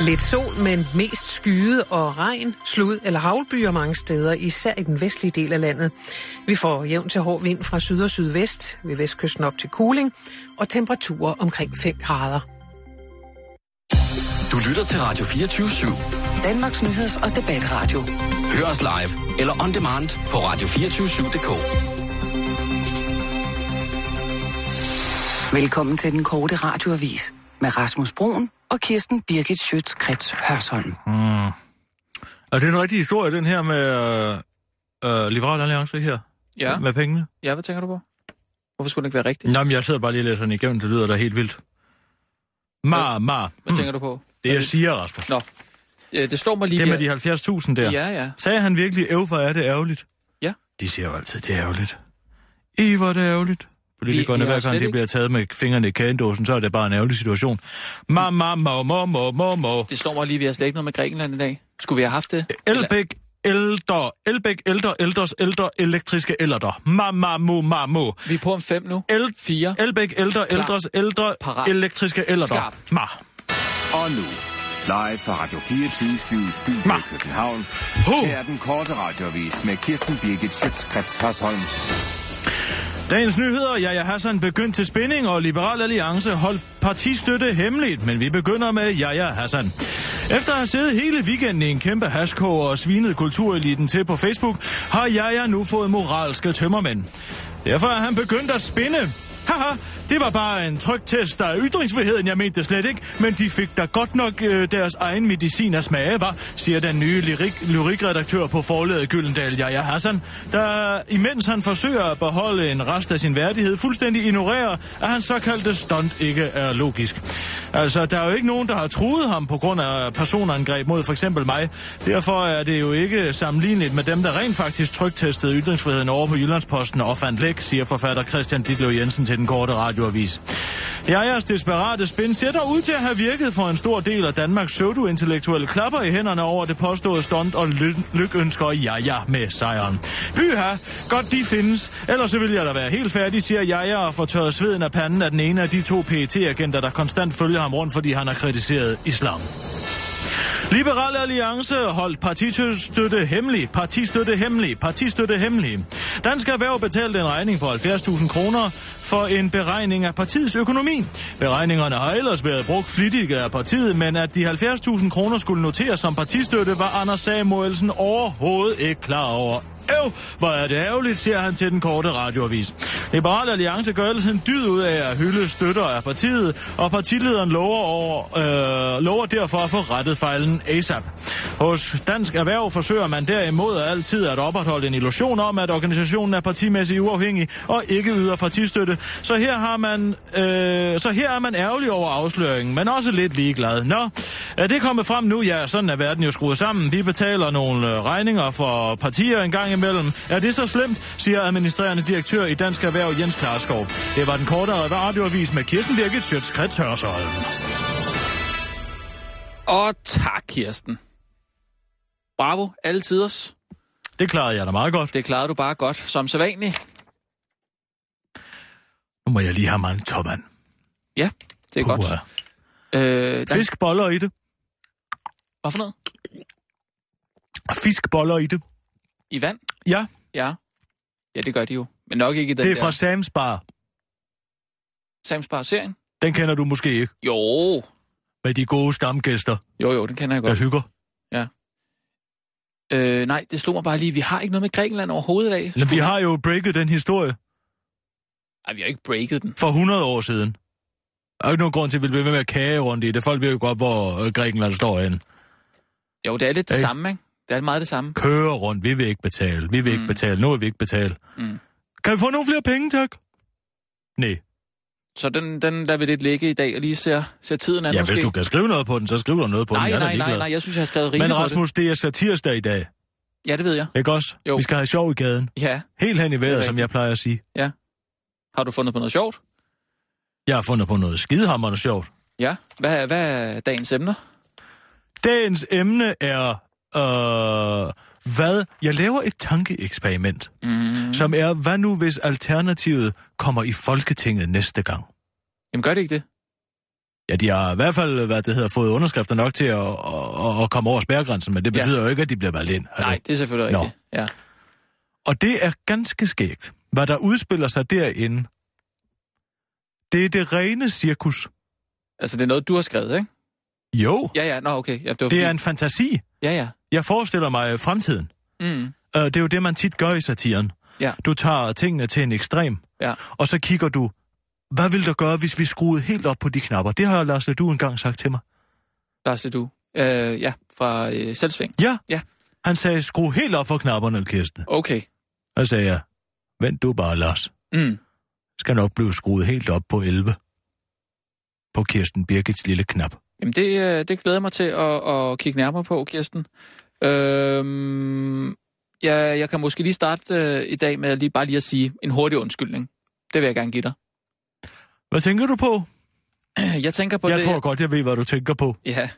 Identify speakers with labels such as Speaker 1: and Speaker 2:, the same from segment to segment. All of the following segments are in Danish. Speaker 1: Lidt sol, men mest skyde og regn, slud eller havlbyer mange steder, især i den vestlige del af landet. Vi får jævn til hård vind fra syd og sydvest, ved vestkysten op til Kuling, og temperaturer omkring 5 grader.
Speaker 2: Du lytter til Radio 24 /7.
Speaker 3: Danmarks Nyheds- og Debatradio.
Speaker 2: Hør os live eller on demand på radio247.dk.
Speaker 3: Velkommen til den korte radioavis med Rasmus Broen og Kirsten Birgit Schøtz-Krets Hørsholm.
Speaker 4: Og det er en rigtig historie, den her med øh, øh, Liberal Alliance her.
Speaker 5: Ja.
Speaker 4: Med pengene.
Speaker 5: ja, hvad tænker du på? Hvorfor skulle det ikke være rigtigt?
Speaker 4: Nå, men jeg sidder bare lige og læser den igennem, det lyder da helt vildt. Ma, ma.
Speaker 5: Hvad tænker du på?
Speaker 4: Det jeg siger, Rasmus.
Speaker 5: Nå, Øh, det slår mig lige...
Speaker 4: Det med
Speaker 5: vi-
Speaker 4: de 70.000 der.
Speaker 5: Ja, ja.
Speaker 4: Sagde han virkelig, øv, hvor er det ærgerligt?
Speaker 5: Ja.
Speaker 4: De siger jo altid, det er ærgerligt. I, hvor er det ærgerligt. Politikerne,
Speaker 5: Vi- vi har
Speaker 4: hver
Speaker 5: slet
Speaker 4: gang de
Speaker 5: ikke-
Speaker 4: bliver taget med fingrene i kagedåsen, så er det bare en ærgerlig situation. Ma, ma, ma, ma, ma, ma, ma.
Speaker 5: Det slår mig lige, vi har slet ikke noget med Grækenland i dag. Skulle vi have haft det?
Speaker 4: Elbæk, ældre, Elbæk, ældre, ældres, ældre, elektriske ældre. Ma, ma, mu, ma, mu.
Speaker 5: Vi er på om fem nu.
Speaker 4: El,
Speaker 5: Fire.
Speaker 4: Elbæk, ældre,
Speaker 5: Klar.
Speaker 4: ældres, ældre,
Speaker 5: Parat.
Speaker 4: elektriske ældre.
Speaker 5: Skarp.
Speaker 4: Ma.
Speaker 6: Og nu, live fra Radio 24 Studio
Speaker 4: Ma.
Speaker 6: i København.
Speaker 4: Ho.
Speaker 6: Her er den korte radiovis med Kirsten Birgit Schøtzgrads Hasholm.
Speaker 4: Dagens nyheder, Jaja Hassan begyndte til spænding, og Liberal Alliance holdt partistøtte hemmeligt, men vi begynder med Jaja Hassan. Efter at have siddet hele weekenden i en kæmpe haskog og svinet kultureliten til på Facebook, har Jaja nu fået moralske tømmermænd. Derfor er han begyndt at spinde. Haha, det var bare en trygtest af ytringsfriheden, jeg mente det slet ikke, men de fik da godt nok øh, deres egen medicin at smage, var, siger den nye lyrik, lyrikredaktør på forlaget Gyldendal, Jaja Hassan, der imens han forsøger at beholde en rest af sin værdighed, fuldstændig ignorerer, at hans såkaldte stunt ikke er logisk. Altså, der er jo ikke nogen, der har truet ham på grund af personangreb mod for eksempel mig. Derfor er det jo ikke sammenligneligt med dem, der rent faktisk trygtestede ytringsfriheden over på Jyllandsposten og fandt læk, siger forfatter Christian Ditlev Jensen til den korte radioavis. Jajas desperate spin ser dog ud til at have virket for en stor del af Danmarks pseudo-intellektuelle klapper i hænderne over det påståede stunt og ly- lykønsker Jaja med sejren. Byha, godt de findes, ellers så ville jeg da være helt færdig, siger Jaja og får tørret sveden af panden af den ene af de to pt agenter der konstant følger ham rundt, fordi han har kritiseret islam. Liberal Alliance holdt partistøtte hemmelig, partistøtte hemmelig, partistøtte hemmelig. Dansk Erhverv betalte en regning på 70.000 kroner for en beregning af partiets økonomi. Beregningerne har ellers været brugt flittigt af partiet, men at de 70.000 kroner skulle noteres som partistøtte, var Anders Samuelsen overhovedet ikke klar over. Øv, hvor er det ærgerligt, siger han til den korte radioavis. Liberal Alliance gør ellers en dyd ud af at hylde støtter af partiet, og partilederen lover, over, øh, lover derfor at få rettet fejlen ASAP. Hos Dansk Erhverv forsøger man derimod altid at opretholde en illusion om, at organisationen er partimæssigt uafhængig og ikke yder partistøtte, så her, har man, øh, så her er man ærgerlig over afsløringen, men også lidt ligeglad. Nå, er det kommet frem nu? Ja, sådan er verden jo skruet sammen. Vi betaler nogle øh, regninger for partier en gang imellem. Er det så slemt, siger administrerende direktør i Dansk Erhverv Jens Klarskov. Det var den korte radioavis med Kirsten Birgit Sjøtskrets Hørsholm.
Speaker 5: Og tak, Kirsten. Bravo, alle tiders.
Speaker 4: Det klarede jeg da meget godt.
Speaker 5: Det klarede du bare godt, som sædvanligt.
Speaker 4: Nu må jeg lige have mig en topmand.
Speaker 5: Ja, det er godt.
Speaker 4: Puha.
Speaker 5: Øh, der,
Speaker 4: Fiskboller i det.
Speaker 5: hvad for noget?
Speaker 4: Fiskboller i det.
Speaker 5: I vand?
Speaker 4: Ja,
Speaker 5: Ja. Ja, det gør de jo. Men nok ikke i den
Speaker 4: det er fra
Speaker 5: der
Speaker 4: Sam's Bar.
Speaker 5: Sams Bar-serien.
Speaker 4: Den kender du måske ikke.
Speaker 5: Jo,
Speaker 4: Med de gode stamgæster,
Speaker 5: jo, jo, den kender jeg
Speaker 4: der
Speaker 5: godt.
Speaker 4: hygger.
Speaker 5: Øh, nej, det slog mig bare lige. Vi har ikke noget med Grækenland overhovedet i dag.
Speaker 4: Men vi har jo breaket den historie
Speaker 5: Ej, vi har ikke breaket den.
Speaker 4: for 100 år siden. Der er jo ikke nogen grund til, at vi bliver ved med at kage rundt i det. Folk ved jo godt, hvor øh, Grækenland står henne.
Speaker 5: Jo, det er lidt det
Speaker 4: Ikke?
Speaker 5: samme, ikke? Det er meget det samme.
Speaker 4: Kører rundt, vi vil ikke betale, vi vil ikke
Speaker 5: Mm.
Speaker 4: betale, nu vil vi ikke betale.
Speaker 5: Mm.
Speaker 4: Kan vi få nogle flere penge, tak? Nej.
Speaker 5: Så den, den lader vi lidt ligge i dag og lige ser, ser tiden an
Speaker 4: Ja,
Speaker 5: måske.
Speaker 4: hvis du kan skrive noget på den, så skriver du noget på
Speaker 5: nej,
Speaker 4: den. Jeg er da
Speaker 5: nej, nej,
Speaker 4: ligeglad.
Speaker 5: nej, jeg synes, jeg har skrevet rigeligt
Speaker 4: Men
Speaker 5: på
Speaker 4: Rasmus, det er satirsdag i dag,
Speaker 5: det. Ja, det ved jeg.
Speaker 4: ikke også?
Speaker 5: Jo.
Speaker 4: Vi skal have sjov i gaden.
Speaker 5: Ja.
Speaker 4: Helt hen i vejret, som
Speaker 5: rigtigt.
Speaker 4: jeg plejer at sige.
Speaker 5: Har du fundet på noget sjovt?
Speaker 4: Jeg har fundet på noget skidehammerende sjovt.
Speaker 5: Ja. Hvad er, hvad er dagens emner?
Speaker 4: Dagens emne er... Øh, hvad? Jeg laver et tankeeksperiment.
Speaker 5: Mm.
Speaker 4: som er, hvad nu hvis Alternativet kommer i Folketinget næste gang?
Speaker 5: Jamen, gør det ikke det?
Speaker 4: Ja, de har i hvert fald hvad det hedder, fået underskrifter nok til at, at, at komme over spærregrænsen, men det
Speaker 5: Ja.
Speaker 4: betyder jo ikke, at de bliver valgt ind. Hallo?
Speaker 5: Nej, det er selvfølgelig
Speaker 4: Nå.
Speaker 5: rigtigt. Ja.
Speaker 4: Og det er ganske skægt. Hvad der udspiller sig derinde, det er det rene cirkus.
Speaker 5: Altså, det er noget, du har skrevet, ikke?
Speaker 4: Jo,
Speaker 5: Ja, ja, nå, okay. Ja, det, var
Speaker 4: det er
Speaker 5: fordi-
Speaker 4: en fantasi.
Speaker 5: Ja, ja.
Speaker 4: Jeg forestiller mig øh, fremtiden.
Speaker 5: Mm.
Speaker 4: Øh, Det er jo det, man tit gør i satiren.
Speaker 5: Ja.
Speaker 4: Du tager tingene til en ekstrem,
Speaker 5: Ja.
Speaker 4: og så kigger du, hvad ville der gøre, hvis vi skruede helt op på de knapper? Det har Lars du engang sagt til mig.
Speaker 5: Lars du. Øh, ja, fra øh, Selvsving.
Speaker 4: Ja.
Speaker 5: Ja.
Speaker 4: Han sagde, skru helt op for knapperne, Kirsten.
Speaker 5: Okay.
Speaker 4: Og sagde jeg, vent du bare, Lars.
Speaker 5: Mm.
Speaker 4: Skal nok blive skruet helt op på 11. På Kirsten Birgits lille knap.
Speaker 5: Jamen, det, øh, det glæder jeg mig til at, at kigge nærmere på, Kirsten. Øhm, jeg, jeg kan måske lige starte øh, i dag med at lige, bare lige at sige en hurtig undskyldning. Det vil jeg gerne give dig.
Speaker 4: Hvad tænker du på?
Speaker 5: Jeg tænker på
Speaker 4: jeg
Speaker 5: det...
Speaker 4: tror godt, jeg ved, hvad du tænker på.
Speaker 5: Ja.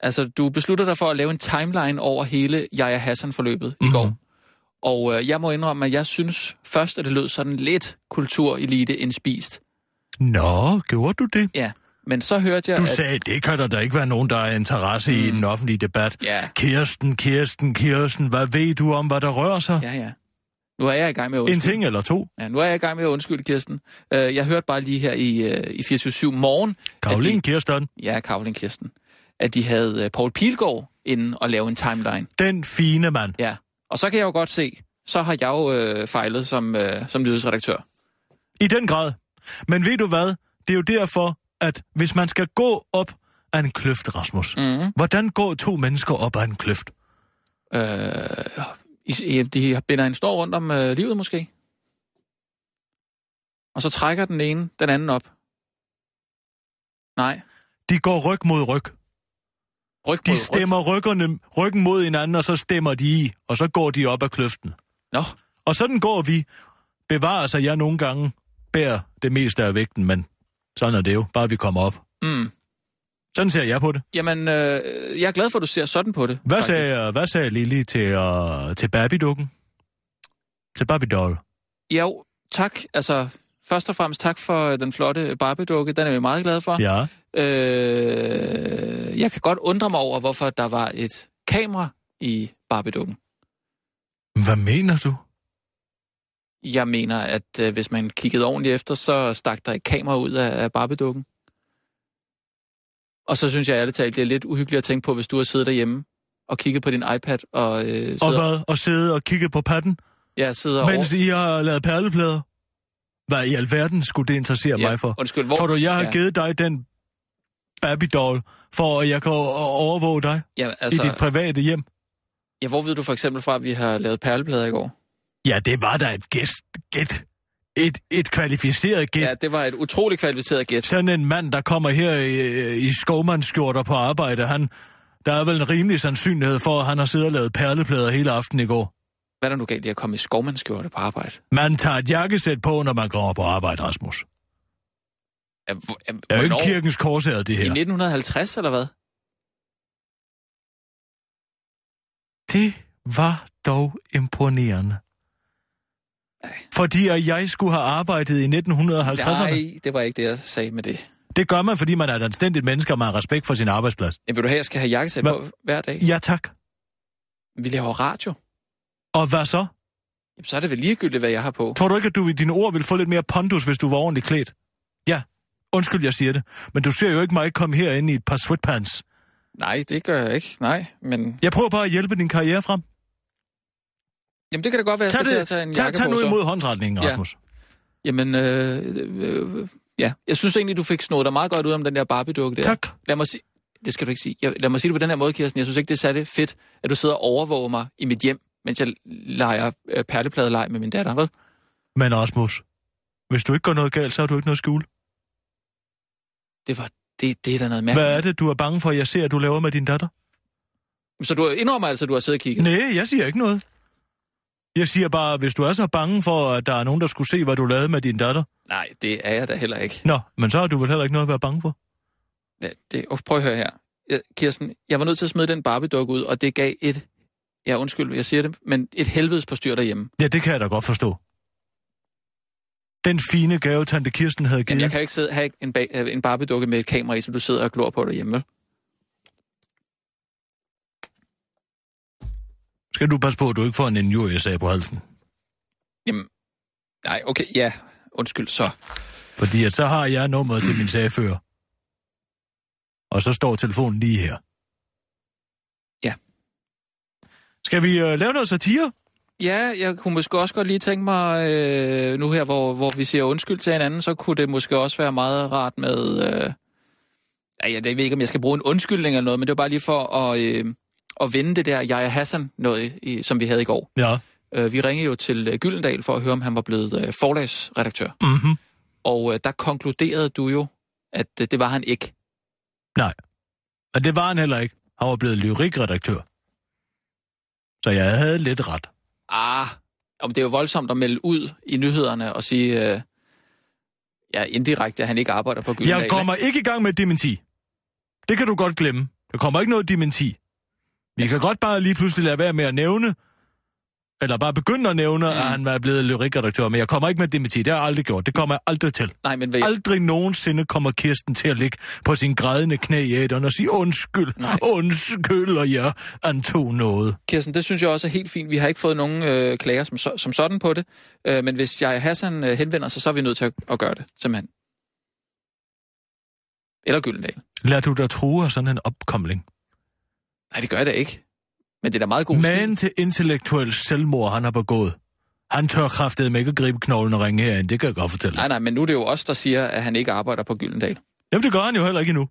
Speaker 5: Altså, du beslutter dig for at lave en timeline over hele Jaja Hassan-forløbet mm-hmm. i
Speaker 4: Mhm.
Speaker 5: går. Og øh, jeg må indrømme, at jeg synes først, at det lød sådan lidt kulturelite indspist.
Speaker 4: Nå, gjorde du det?
Speaker 5: Ja. Men så hørte jeg,
Speaker 4: Du
Speaker 5: at...
Speaker 4: sagde, det kan der da ikke være nogen, der er interesse mm. i i den offentlige debat.
Speaker 5: Ja.
Speaker 4: Kirsten, Kirsten, Kirsten, hvad ved du om, hvad der rører sig?
Speaker 5: Ja, ja. Nu er jeg i gang med at
Speaker 4: en
Speaker 5: undskylde.
Speaker 4: ting eller to.
Speaker 5: Ja, nu er jeg i gang med at undskylde, Kirsten. Øh, jeg hørte bare lige her i, øh, i 24-7 morgen...
Speaker 4: Karoline
Speaker 5: At
Speaker 4: Kirsten,
Speaker 5: de, ja, Kavling Kirsten. At de havde øh, Paul Pilgaard inden og lave en timeline.
Speaker 4: den fine mand.
Speaker 5: Ja. Og så kan jeg jo godt se, så har jeg jo øh, fejlet som, øh, som nyhedsredaktør.
Speaker 4: I den grad. Men ved du hvad? Det er jo derfor, at hvis man skal gå op af en kløft, Rasmus.
Speaker 5: Mhm.
Speaker 4: Mm. Hvordan går to mennesker op af en kløft?
Speaker 5: Øh, I- I- de binder en snor rundt om øh, livet måske. Og så trækker den ene den anden op. Nej.
Speaker 4: De går ryg mod ryg.
Speaker 5: Ryg
Speaker 4: De
Speaker 5: mod
Speaker 4: stemmer ryggerne, ryggen mod hinanden, og så stemmer de i, og så går de op ad kløften.
Speaker 5: Ryg. Nå,
Speaker 4: Og sådan går vi. Bevarer sig jeg nogle gange bærer det meste af vægten, men sådan er det jo. Bare vi kommer op.
Speaker 5: Mm.
Speaker 4: Sådan ser jeg på det.
Speaker 5: jamen, øh, jeg er glad for, at du ser sådan på det.
Speaker 4: Hvad
Speaker 5: faktisk.
Speaker 4: sagde, øh, hvad sagde Lili til, uh, til Barbie-dukken? Til Barbie-doll?
Speaker 5: Jo, tak. Altså, først og fremmest tak for øh, den flotte Barbie-dukke. Den er jeg meget glad for.
Speaker 4: Ja.
Speaker 5: Øh, jeg kan godt undre mig over, hvorfor der var et kamera i Barbie-dukken.
Speaker 4: Hvad mener du?
Speaker 5: Jeg mener, at øh, hvis man kiggede ordentligt efter, så stak der et kamera ud af, af barbedukken. Og så synes jeg ærligt talt, det er lidt uhyggeligt at tænke på, hvis du har siddet derhjemme og kigget på din iPad og, øh, sidder,
Speaker 4: Og hvad? Og sidde og kigge på patten,
Speaker 5: ja, sidder
Speaker 4: og
Speaker 5: over...
Speaker 4: mens I har lavet perleplader? Hvad i alverden skulle det interessere
Speaker 5: ja,
Speaker 4: mig for?
Speaker 5: Undskyld, hvor...
Speaker 4: Tror du, jeg har
Speaker 5: ja,
Speaker 4: givet dig den Barbie-doll, for at jeg kan o- overvåge dig
Speaker 5: ja,
Speaker 4: altså...
Speaker 5: altså,
Speaker 4: i dit private hjem?
Speaker 5: ja, hvor ved du for eksempel fra, at vi har lavet perleplader i går?
Speaker 4: Ja, det var da et gæst, gæt. Et, et kvalificeret gæt.
Speaker 5: Ja, det var et utroligt kvalificeret gæt.
Speaker 4: Sådan en mand, der kommer her i, i skovmandskjorter på arbejde, han, der er vel en rimelig sandsynlighed for, at han har siddet og lavet perleplader hele aften i går.
Speaker 5: Hvad er der nu galt i at komme i skovmandskjorte på arbejde?
Speaker 4: Man tager et jakkesæt på, når man kommer på arbejde, Rasmus. Det
Speaker 5: Ja, hvor- ja,
Speaker 4: er jo ikke
Speaker 5: hvornår?
Speaker 4: kirkens korsager, det
Speaker 5: I
Speaker 4: her.
Speaker 5: 1950, eller hvad?
Speaker 4: Det var dog imponerende. Fordi at jeg skulle have arbejdet i 1950'erne.
Speaker 5: Nej, det var ikke det, jeg sagde med det.
Speaker 4: Det gør man, fordi man er et anstændigt menneske, og man har respekt for sin arbejdsplads.
Speaker 5: Jamen, vil du have, at jeg skal have jakkesæt
Speaker 4: Hvad?
Speaker 5: på hver dag?
Speaker 4: Ja, tak.
Speaker 5: Vi laver radio.
Speaker 4: Og hvad så?
Speaker 5: Jamen, så er det vel ligegyldigt, hvad jeg har på.
Speaker 4: Tror du ikke, at du i dine ord ville få lidt mere pondus, hvis du var ordentligt klædt? Ja, undskyld, jeg siger det. Men du ser jo ikke mig komme herind i et par sweatpants.
Speaker 5: Nej, det gør jeg ikke. Nej, men...
Speaker 4: Jeg prøver bare at hjælpe din karriere frem.
Speaker 5: Jamen, det kan da godt være, at jeg
Speaker 4: Tag,
Speaker 5: skal til at tage en
Speaker 4: det, tag,
Speaker 5: jakke
Speaker 4: tag
Speaker 5: på,
Speaker 4: nu
Speaker 5: så.
Speaker 4: imod håndretningen,
Speaker 5: Ja.
Speaker 4: Rasmus.
Speaker 5: Jamen, øh, øh, øh, ja. Jeg synes egentlig, du fik snodet dig meget godt ud om den der Barbie-dukke der.
Speaker 4: Tak.
Speaker 5: Lad mig sige... Det skal du ikke sige. Jeg, lad mig sige det på den her måde, Kirsten. Jeg synes ikke, det er særlig fedt, at du sidder og overvåger mig i mit hjem, mens jeg leger øh, perlepladeleg med min datter, vel?
Speaker 4: Men Rasmus, hvis du ikke gør noget galt, så har du ikke noget at skjule.
Speaker 5: Det var... Det, det er da noget mærkeligt.
Speaker 4: Hvad er det, du er bange for, jeg ser, at du laver med din datter?
Speaker 5: Så du indrømmer altså, at du har siddet og kigget?
Speaker 4: Nej, jeg siger ikke noget. Jeg siger bare, hvis du er så bange for, at der er nogen, der skulle se, hvad du lavede med din datter.
Speaker 5: Nej, det er jeg da heller ikke.
Speaker 4: Nå, men så har du vel heller ikke noget at være bange for.
Speaker 5: Ja, det, oh, prøv at høre her. Ja, Kirsten, jeg var nødt til at smide den barbie ud, og det gav et... Ja, undskyld, jeg siger det, men et helvedes på styr derhjemme.
Speaker 4: Ja, det kan jeg da godt forstå. den fine gave, Tante Kirsten havde givet.
Speaker 5: Men jeg kan jo ikke sidde, have en, bag, have en barbedukke med et kamera i, som du sidder og glor på derhjemme. vel?
Speaker 4: Skal du passe på, at du ikke får en injuriesag på halsen?
Speaker 5: Jamen, nej, okay, ja. Undskyld så.
Speaker 4: Fordi at så har jeg nummeret til min sagfører. Og så står telefonen lige her.
Speaker 5: Ja.
Speaker 4: Skal vi øh, lave noget satire?
Speaker 5: Ja, jeg kunne måske også godt lige tænke mig, øh, nu her, hvor, hvor vi siger undskyld til hinanden, så kunne det måske også være meget rart med... Øh, ja, jeg ved ikke, om jeg skal bruge en undskyldning eller noget, men det var bare lige for at, øh, at vende det der Jaja Hassan noget, i, som vi havde i går.
Speaker 4: Ja.
Speaker 5: Øh, vi ringede jo til øh, Gyldendal for at høre, om han var blevet øh, forlagsredaktør.
Speaker 4: Mm-hmm.
Speaker 5: Og øh, der konkluderede du jo, at øh, det var han ikke.
Speaker 4: Nej. Og det var han heller ikke. Han var blevet lyrikredaktør. Så jeg havde lidt ret.
Speaker 5: Ah, om det er jo voldsomt at melde ud i nyhederne og sige, øh, ja, indirekte, at han ikke arbejder på Gyldendal.
Speaker 4: Jeg kommer ikke i gang med et dementi. Det kan du godt glemme. Der kommer ikke noget dementi. Vi kan godt bare lige pludselig lade være med at nævne, eller bare begynde at nævne, mm. at han var blevet lyrikredaktør, men jeg kommer ikke med et dementi. Det har jeg aldrig gjort. Det kommer jeg aldrig til.
Speaker 5: Nej, men hvad,
Speaker 4: Aldrig nogensinde kommer Kirsten til at ligge på sin grædende knæ i æderen og sige undskyld,
Speaker 5: Nej.
Speaker 4: undskyld, og jeg antog noget.
Speaker 5: Kirsten, det synes jeg også er helt fint. Vi har ikke fået nogen øh, klager som, så- som sådan på det. Øh, men hvis jeg Hassan øh, henvender sig, så er vi nødt til at, at gøre det, simpelthen. Eller Gyldendal.
Speaker 4: Lad du dig true af sådan en opkomling.
Speaker 5: Nej, det gør jeg da ikke. Men det er da meget god
Speaker 4: Men
Speaker 5: stil.
Speaker 4: til intellektuel selvmord, han har begået. Han tør kraftedeme ikke at gribe knoglen og ringe herind, det kan jeg godt fortælle.
Speaker 5: Nej, nej, men nu er det jo os, der siger, at han ikke arbejder på Gyldendal.
Speaker 4: Jamen, det gør han jo heller ikke endnu.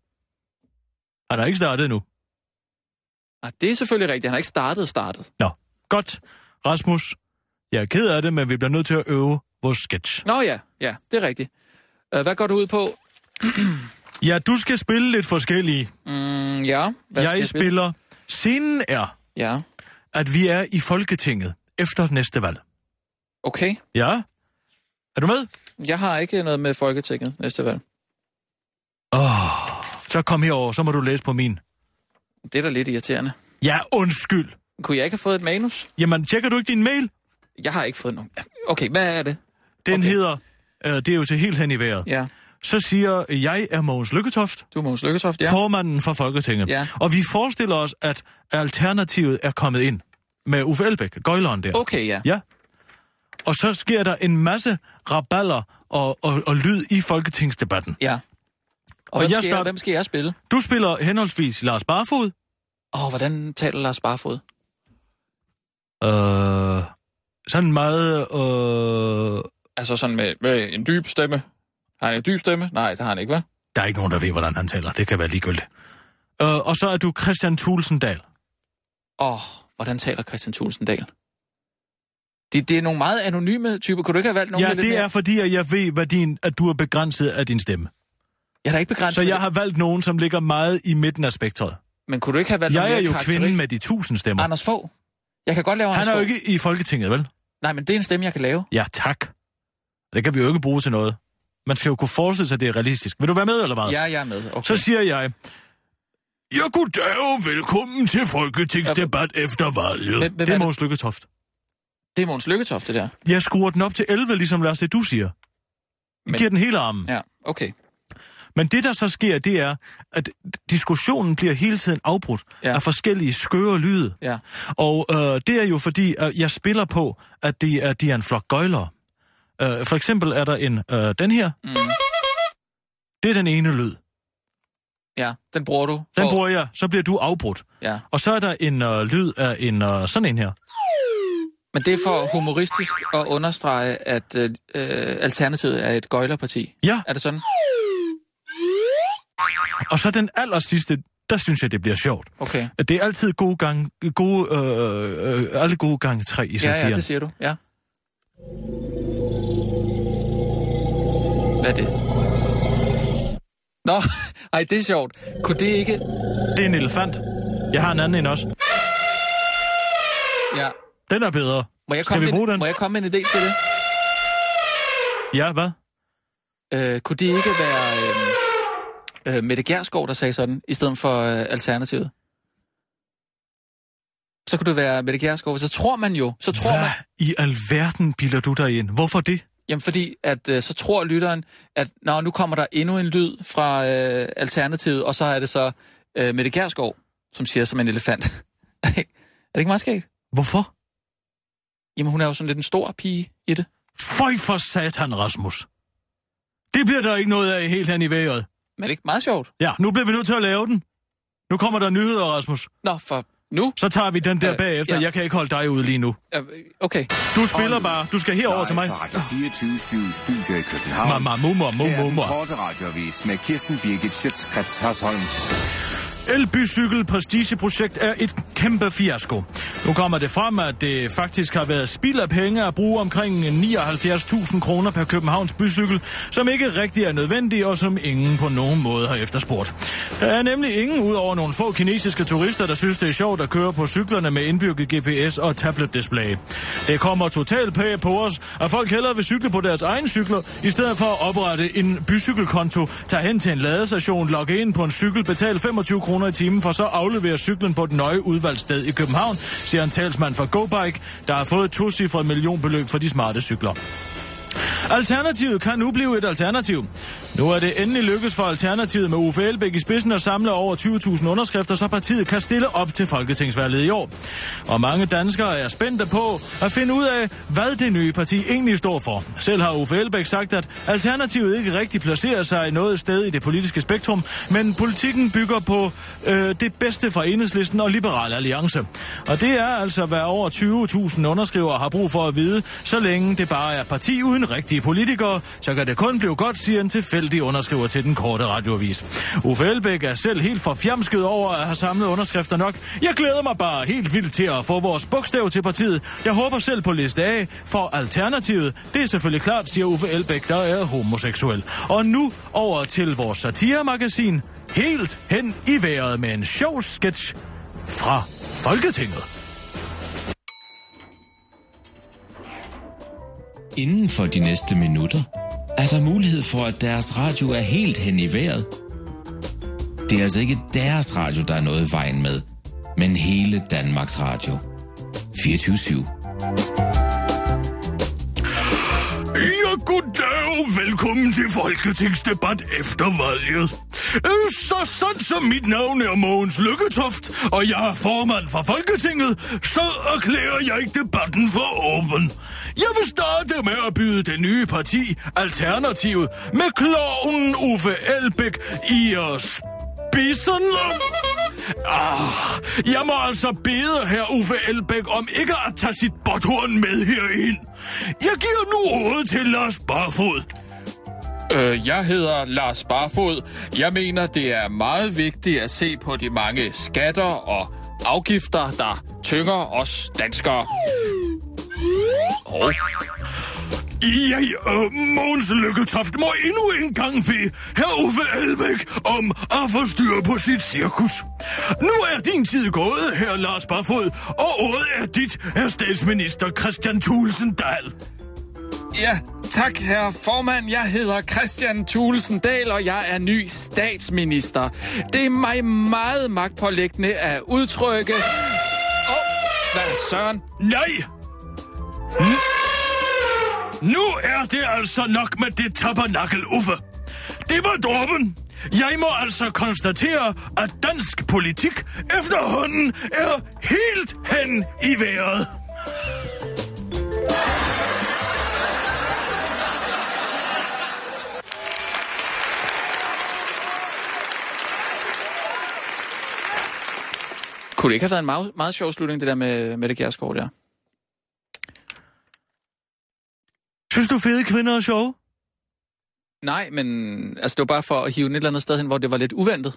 Speaker 4: Han har ikke startet endnu.
Speaker 5: Nej, Ah, det er selvfølgelig rigtigt. Han har ikke startet startet.
Speaker 4: Nå, godt. Rasmus, jeg er ked af det, men vi bliver nødt til at øve vores sketch.
Speaker 5: Nå ja, ja, det er rigtigt. Øh, hvad går du ud på?
Speaker 4: Ja, du skal spille lidt forskellige.
Speaker 5: Mm, ja, hvad
Speaker 4: Hvad
Speaker 5: skal
Speaker 4: jeg
Speaker 5: spille?
Speaker 4: spiller... Scenen er,
Speaker 5: Ja,
Speaker 4: at vi er i Folketinget efter næste valg.
Speaker 5: okay.
Speaker 4: Ja? Er du med?
Speaker 5: Jeg har ikke noget med Folketinget næste valg.
Speaker 4: Så kom herover, så må du læse på min.
Speaker 5: Det er da lidt irriterende.
Speaker 4: Ja, undskyld.
Speaker 5: Kunne jeg ikke have fået et manus?
Speaker 4: Jamen, tjekker du ikke din mail?
Speaker 5: Jeg har ikke fået nogen. Okay, hvad er det?
Speaker 4: Den
Speaker 5: Okay.
Speaker 4: okay. hedder... Øh, det er jo til helt hen i vejret.
Speaker 5: Ja,
Speaker 4: Så siger, jeg er Mogens Lykketoft,
Speaker 5: du er Mogens Lykketoft,
Speaker 4: ja.
Speaker 5: ja.
Speaker 4: formanden for Folketinget.
Speaker 5: Ja.
Speaker 4: Og vi forestiller os, at alternativet er kommet ind med Uffe Elbæk, gøjleren der.
Speaker 5: Okay, ja.
Speaker 4: Ja. Og så sker der en masse raballer og, og, og lyd i folketingsdebatten.
Speaker 5: ja. Og,
Speaker 4: Og
Speaker 5: hvem,
Speaker 4: jeg
Speaker 5: skal jeg,
Speaker 4: start-
Speaker 5: hvem skal jeg spille?
Speaker 4: Du spiller henholdsvis Lars Barfod.
Speaker 5: Åh, oh, hvordan taler Lars Barfod?
Speaker 4: Øh, sådan meget... Øh,
Speaker 5: Altså sådan med, med en dyb stemme. Har han en dyb stemme? Nej, det har han ikke, hva'?
Speaker 4: der er ikke nogen, der ved, hvordan han taler. Det kan være ligegyldigt. Øh, og så er du Christian Tulsendal.
Speaker 5: Åh, oh, hvordan taler Christian Tulsendal? Det, det er nogle meget anonyme typer. Kunne du ikke have valgt nogen
Speaker 4: ja,
Speaker 5: med lidt
Speaker 4: det
Speaker 5: mere?
Speaker 4: er fordi, at jeg ved, hvad din, at du er begrænset af din stemme.
Speaker 5: Jeg er da ikke begrænset.
Speaker 4: Så
Speaker 5: med
Speaker 4: jeg
Speaker 5: det.
Speaker 4: har valgt nogen, som ligger meget i midten af spektret.
Speaker 5: Men kunne du ikke have valgt
Speaker 4: Jeg
Speaker 5: nogen
Speaker 4: er
Speaker 5: mere
Speaker 4: jo kvinden
Speaker 5: karakteristisk?
Speaker 4: med de tusind stemmer.
Speaker 5: Anders Fogh. Jeg kan godt lave Anders
Speaker 4: Han er jo
Speaker 5: Fogh.
Speaker 4: ikke i Folketinget, vel?
Speaker 5: Nej, men det er en stemme, jeg kan lave.
Speaker 4: Ja, tak. Det kan vi jo ikke bruge til noget. Man skal jo kunne forestille sig, at det er realistisk. Vil du være med, eller hvad?
Speaker 5: Ja, jeg er med. Okay.
Speaker 4: Så siger jeg... Ja, goddag og velkommen til Folketingsdebat efter valget.
Speaker 5: Hvem- hvem
Speaker 4: det
Speaker 5: er
Speaker 4: er
Speaker 5: det?
Speaker 4: Måns Lykketoft.
Speaker 5: Det er Mogens Lykketoft, det der.
Speaker 4: Jeg skruer den op til 11, ligesom Lars, det du siger.
Speaker 5: Men-
Speaker 4: Men... Giver den hele armen. Ja.
Speaker 5: Ja, okay.
Speaker 4: Men det, der så sker, det er, at diskussionen bliver hele tiden afbrudt
Speaker 5: Ja.
Speaker 4: ja. af forskellige skøre lyde.
Speaker 5: Ja.
Speaker 4: Og øh, det er jo fordi, at jeg spiller på, at de er, de er en flok gøjlere. Øh, for eksempel er der en, øh, den her.
Speaker 5: Mm.
Speaker 4: Det er den ene lyd.
Speaker 5: Ja, den bruger du.
Speaker 4: Den
Speaker 5: for-
Speaker 4: bruger jeg. Så bliver du afbrudt.
Speaker 5: Ja.
Speaker 4: Og så er der en øh, lyd af en øh, sådan en her.
Speaker 5: Men det er for humoristisk at understrege, at øh, øh, Alternativet er et gøjlerparti.
Speaker 4: Ja,
Speaker 5: Er det sådan?
Speaker 4: og så den aller sidste, der synes jeg, det bliver sjovt.
Speaker 5: Okay.
Speaker 4: Det er altid gode gange, gode, øh, øh, alle gode gange tre i
Speaker 5: Ja,
Speaker 4: satiren.
Speaker 5: ja, det siger du. Ja. Hvad er det? Nå, ej, det er sjovt. Kunne det ikke...
Speaker 4: det er en elefant. Jeg har en anden en også.
Speaker 5: Ja.
Speaker 4: Den er bedre.
Speaker 5: Må jeg
Speaker 4: Skal
Speaker 5: komme
Speaker 4: vi bruge
Speaker 5: med, en-
Speaker 4: den?
Speaker 5: Må jeg komme med en idé til det?
Speaker 4: Ja, hvad?
Speaker 5: Øh, kunne det ikke være øh, øh, Mette Gjersgaard, der sagde sådan, i stedet for øh, Alternativet? Så kunne det være Mette Gjersgaard. Så tror man jo, så tror
Speaker 4: Hvad
Speaker 5: man...
Speaker 4: i alverden bilder du dig ind? Hvorfor det?
Speaker 5: Jamen fordi, at øh, så tror lytteren, at nå, nu kommer der endnu en lyd fra øh, Alternativet, og så er det så øh, Mette Gerskov, som siger som en elefant. er det ikke meget skægt?
Speaker 4: Hvorfor?
Speaker 5: Jamen hun er jo sådan lidt en stor pige i det.
Speaker 4: Føj for satan, Rasmus. Det bliver der ikke noget af helt hen i vejret.
Speaker 5: Men er det ikke meget sjovt?
Speaker 4: Ja, nu bliver vi nødt til at lave den. Nu kommer der nyheder, Rasmus.
Speaker 5: Nå, for nu?
Speaker 4: Så tager vi den der
Speaker 5: Øh,
Speaker 4: bagefter.
Speaker 5: ja.
Speaker 4: Jeg kan ikke holde dig ude lige nu.
Speaker 5: Øh, Okay.
Speaker 4: Du spiller bare. Du skal herover til mig.
Speaker 6: Live fra Radio 24 Studio i København.
Speaker 4: Mamma, mumma,
Speaker 6: Her er
Speaker 4: mumma,
Speaker 6: den
Speaker 4: mumma.
Speaker 6: korte radiovis med Kirsten Birgit Schøtzgrads Hasholm.
Speaker 4: Elbycykel prestigeprojekt er et kæmpe fiasko. Nu kommer det frem, at det faktisk har været spild af penge at bruge omkring 79.000 kroner per Københavns bycykel, som ikke rigtig er nødvendig og som ingen på nogen måde har efterspurgt. Der er nemlig ingen udover nogle få kinesiske turister, der synes, det er sjovt at køre på cyklerne med indbygget GPS og tabletdisplay. Det kommer totalt pæ på os, at folk hellere vil cykle på deres egen cykler, i stedet for at oprette en bycykelkonto, tage hen til en ladestation, logge ind på en cykel, betale 25 kroner i timen, for så aflevere cyklen på et nøje udvalgt sted i København, siger en talsmand for GoBike, der har fået et tocifret millionbeløb for de smarte cykler. Alternativet kan nu blive et alternativ. Nu er det endelig lykkedes for Alternativet med Uffe Elbæk i spidsen at samle over 20.000 underskrifter, så partiet kan stille op til folketingsvalget i år. Og mange danskere er spændte på at finde ud af, hvad det nye parti egentlig står for. Selv har Uffe Elbæk sagt, at Alternativet ikke rigtig placerer sig i noget sted i det politiske spektrum, men politikken bygger på øh, det bedste fra Enhedslisten og Liberal Alliance. Og det er altså, hvad over 20.000 underskrivere har brug for at vide, så længe det bare er parti uden rigtige politikere, så kan det kun blive godt, siger en tilfældig underskriver til den korte radioavis. Uffe Elbæk er selv helt forfjamsket over at have samlet underskrifter nok. Jeg glæder mig bare helt vildt til at få vores bogstav til partiet. Jeg håber selv på liste A, for alternativet, det er selvfølgelig klart, siger Uffe Elbæk, der er homoseksuel. Og nu over til vores satiremagasin, helt hen i vejret med en sjov sketch fra Folketinget.
Speaker 7: Inden for de næste minutter er der mulighed for, at deres radio er helt hen i vejret. Det er altså ikke deres radio, der er noget i vejen med, men hele Danmarks Radio. 24
Speaker 4: Ja, goddag og velkommen til Folketingsdebat efter valget. Øh, Så sandt som mit navn er Mogens Lykketoft, og jeg er formand for Folketinget, så erklærer jeg debatten for åben. Jeg vil starte med at byde det nye parti, Alternativet, med kloven Uffe Elbæk i os spidsen. Ah, jeg må altså bede her Uffe Elbæk om ikke at tage sit botthorn med herind. Jeg giver nu ordet til Lars Barfod.
Speaker 5: Øh, jeg hedder Lars Barfod. Jeg mener, det er meget vigtigt at se på de mange skatter og afgifter, der tynger os danskere. Og
Speaker 4: Jeg, øh, Måns Lykketoft, må endnu en gang bede herr Uffe Elbæk om at få styr på sit cirkus. Nu er din tid gået, herr Lars Barfod, og ordet er dit, herr statsminister Christian Thulsen Dahl.
Speaker 5: Ja, tak herre formand. Jeg hedder Christian Thulesen Dahl, og jeg er ny statsminister. Det er mig meget magtpålæggende at udtrykke... Åh, oh, hvad søren?
Speaker 4: Nej! N- nu er det altså nok med det tabernakel, Uffe. Det var dråben. Jeg må altså konstatere, at dansk politik efterhånden er helt hen i vejret.
Speaker 5: Kunne det ikke have været en meget, meget sjov slutning, det der med Mette Gjerskov der?
Speaker 4: Synes du fede kvinder er sjove?
Speaker 5: Nej, men altså, det var bare for at hive den et eller andet sted hen, hvor det var lidt uventet.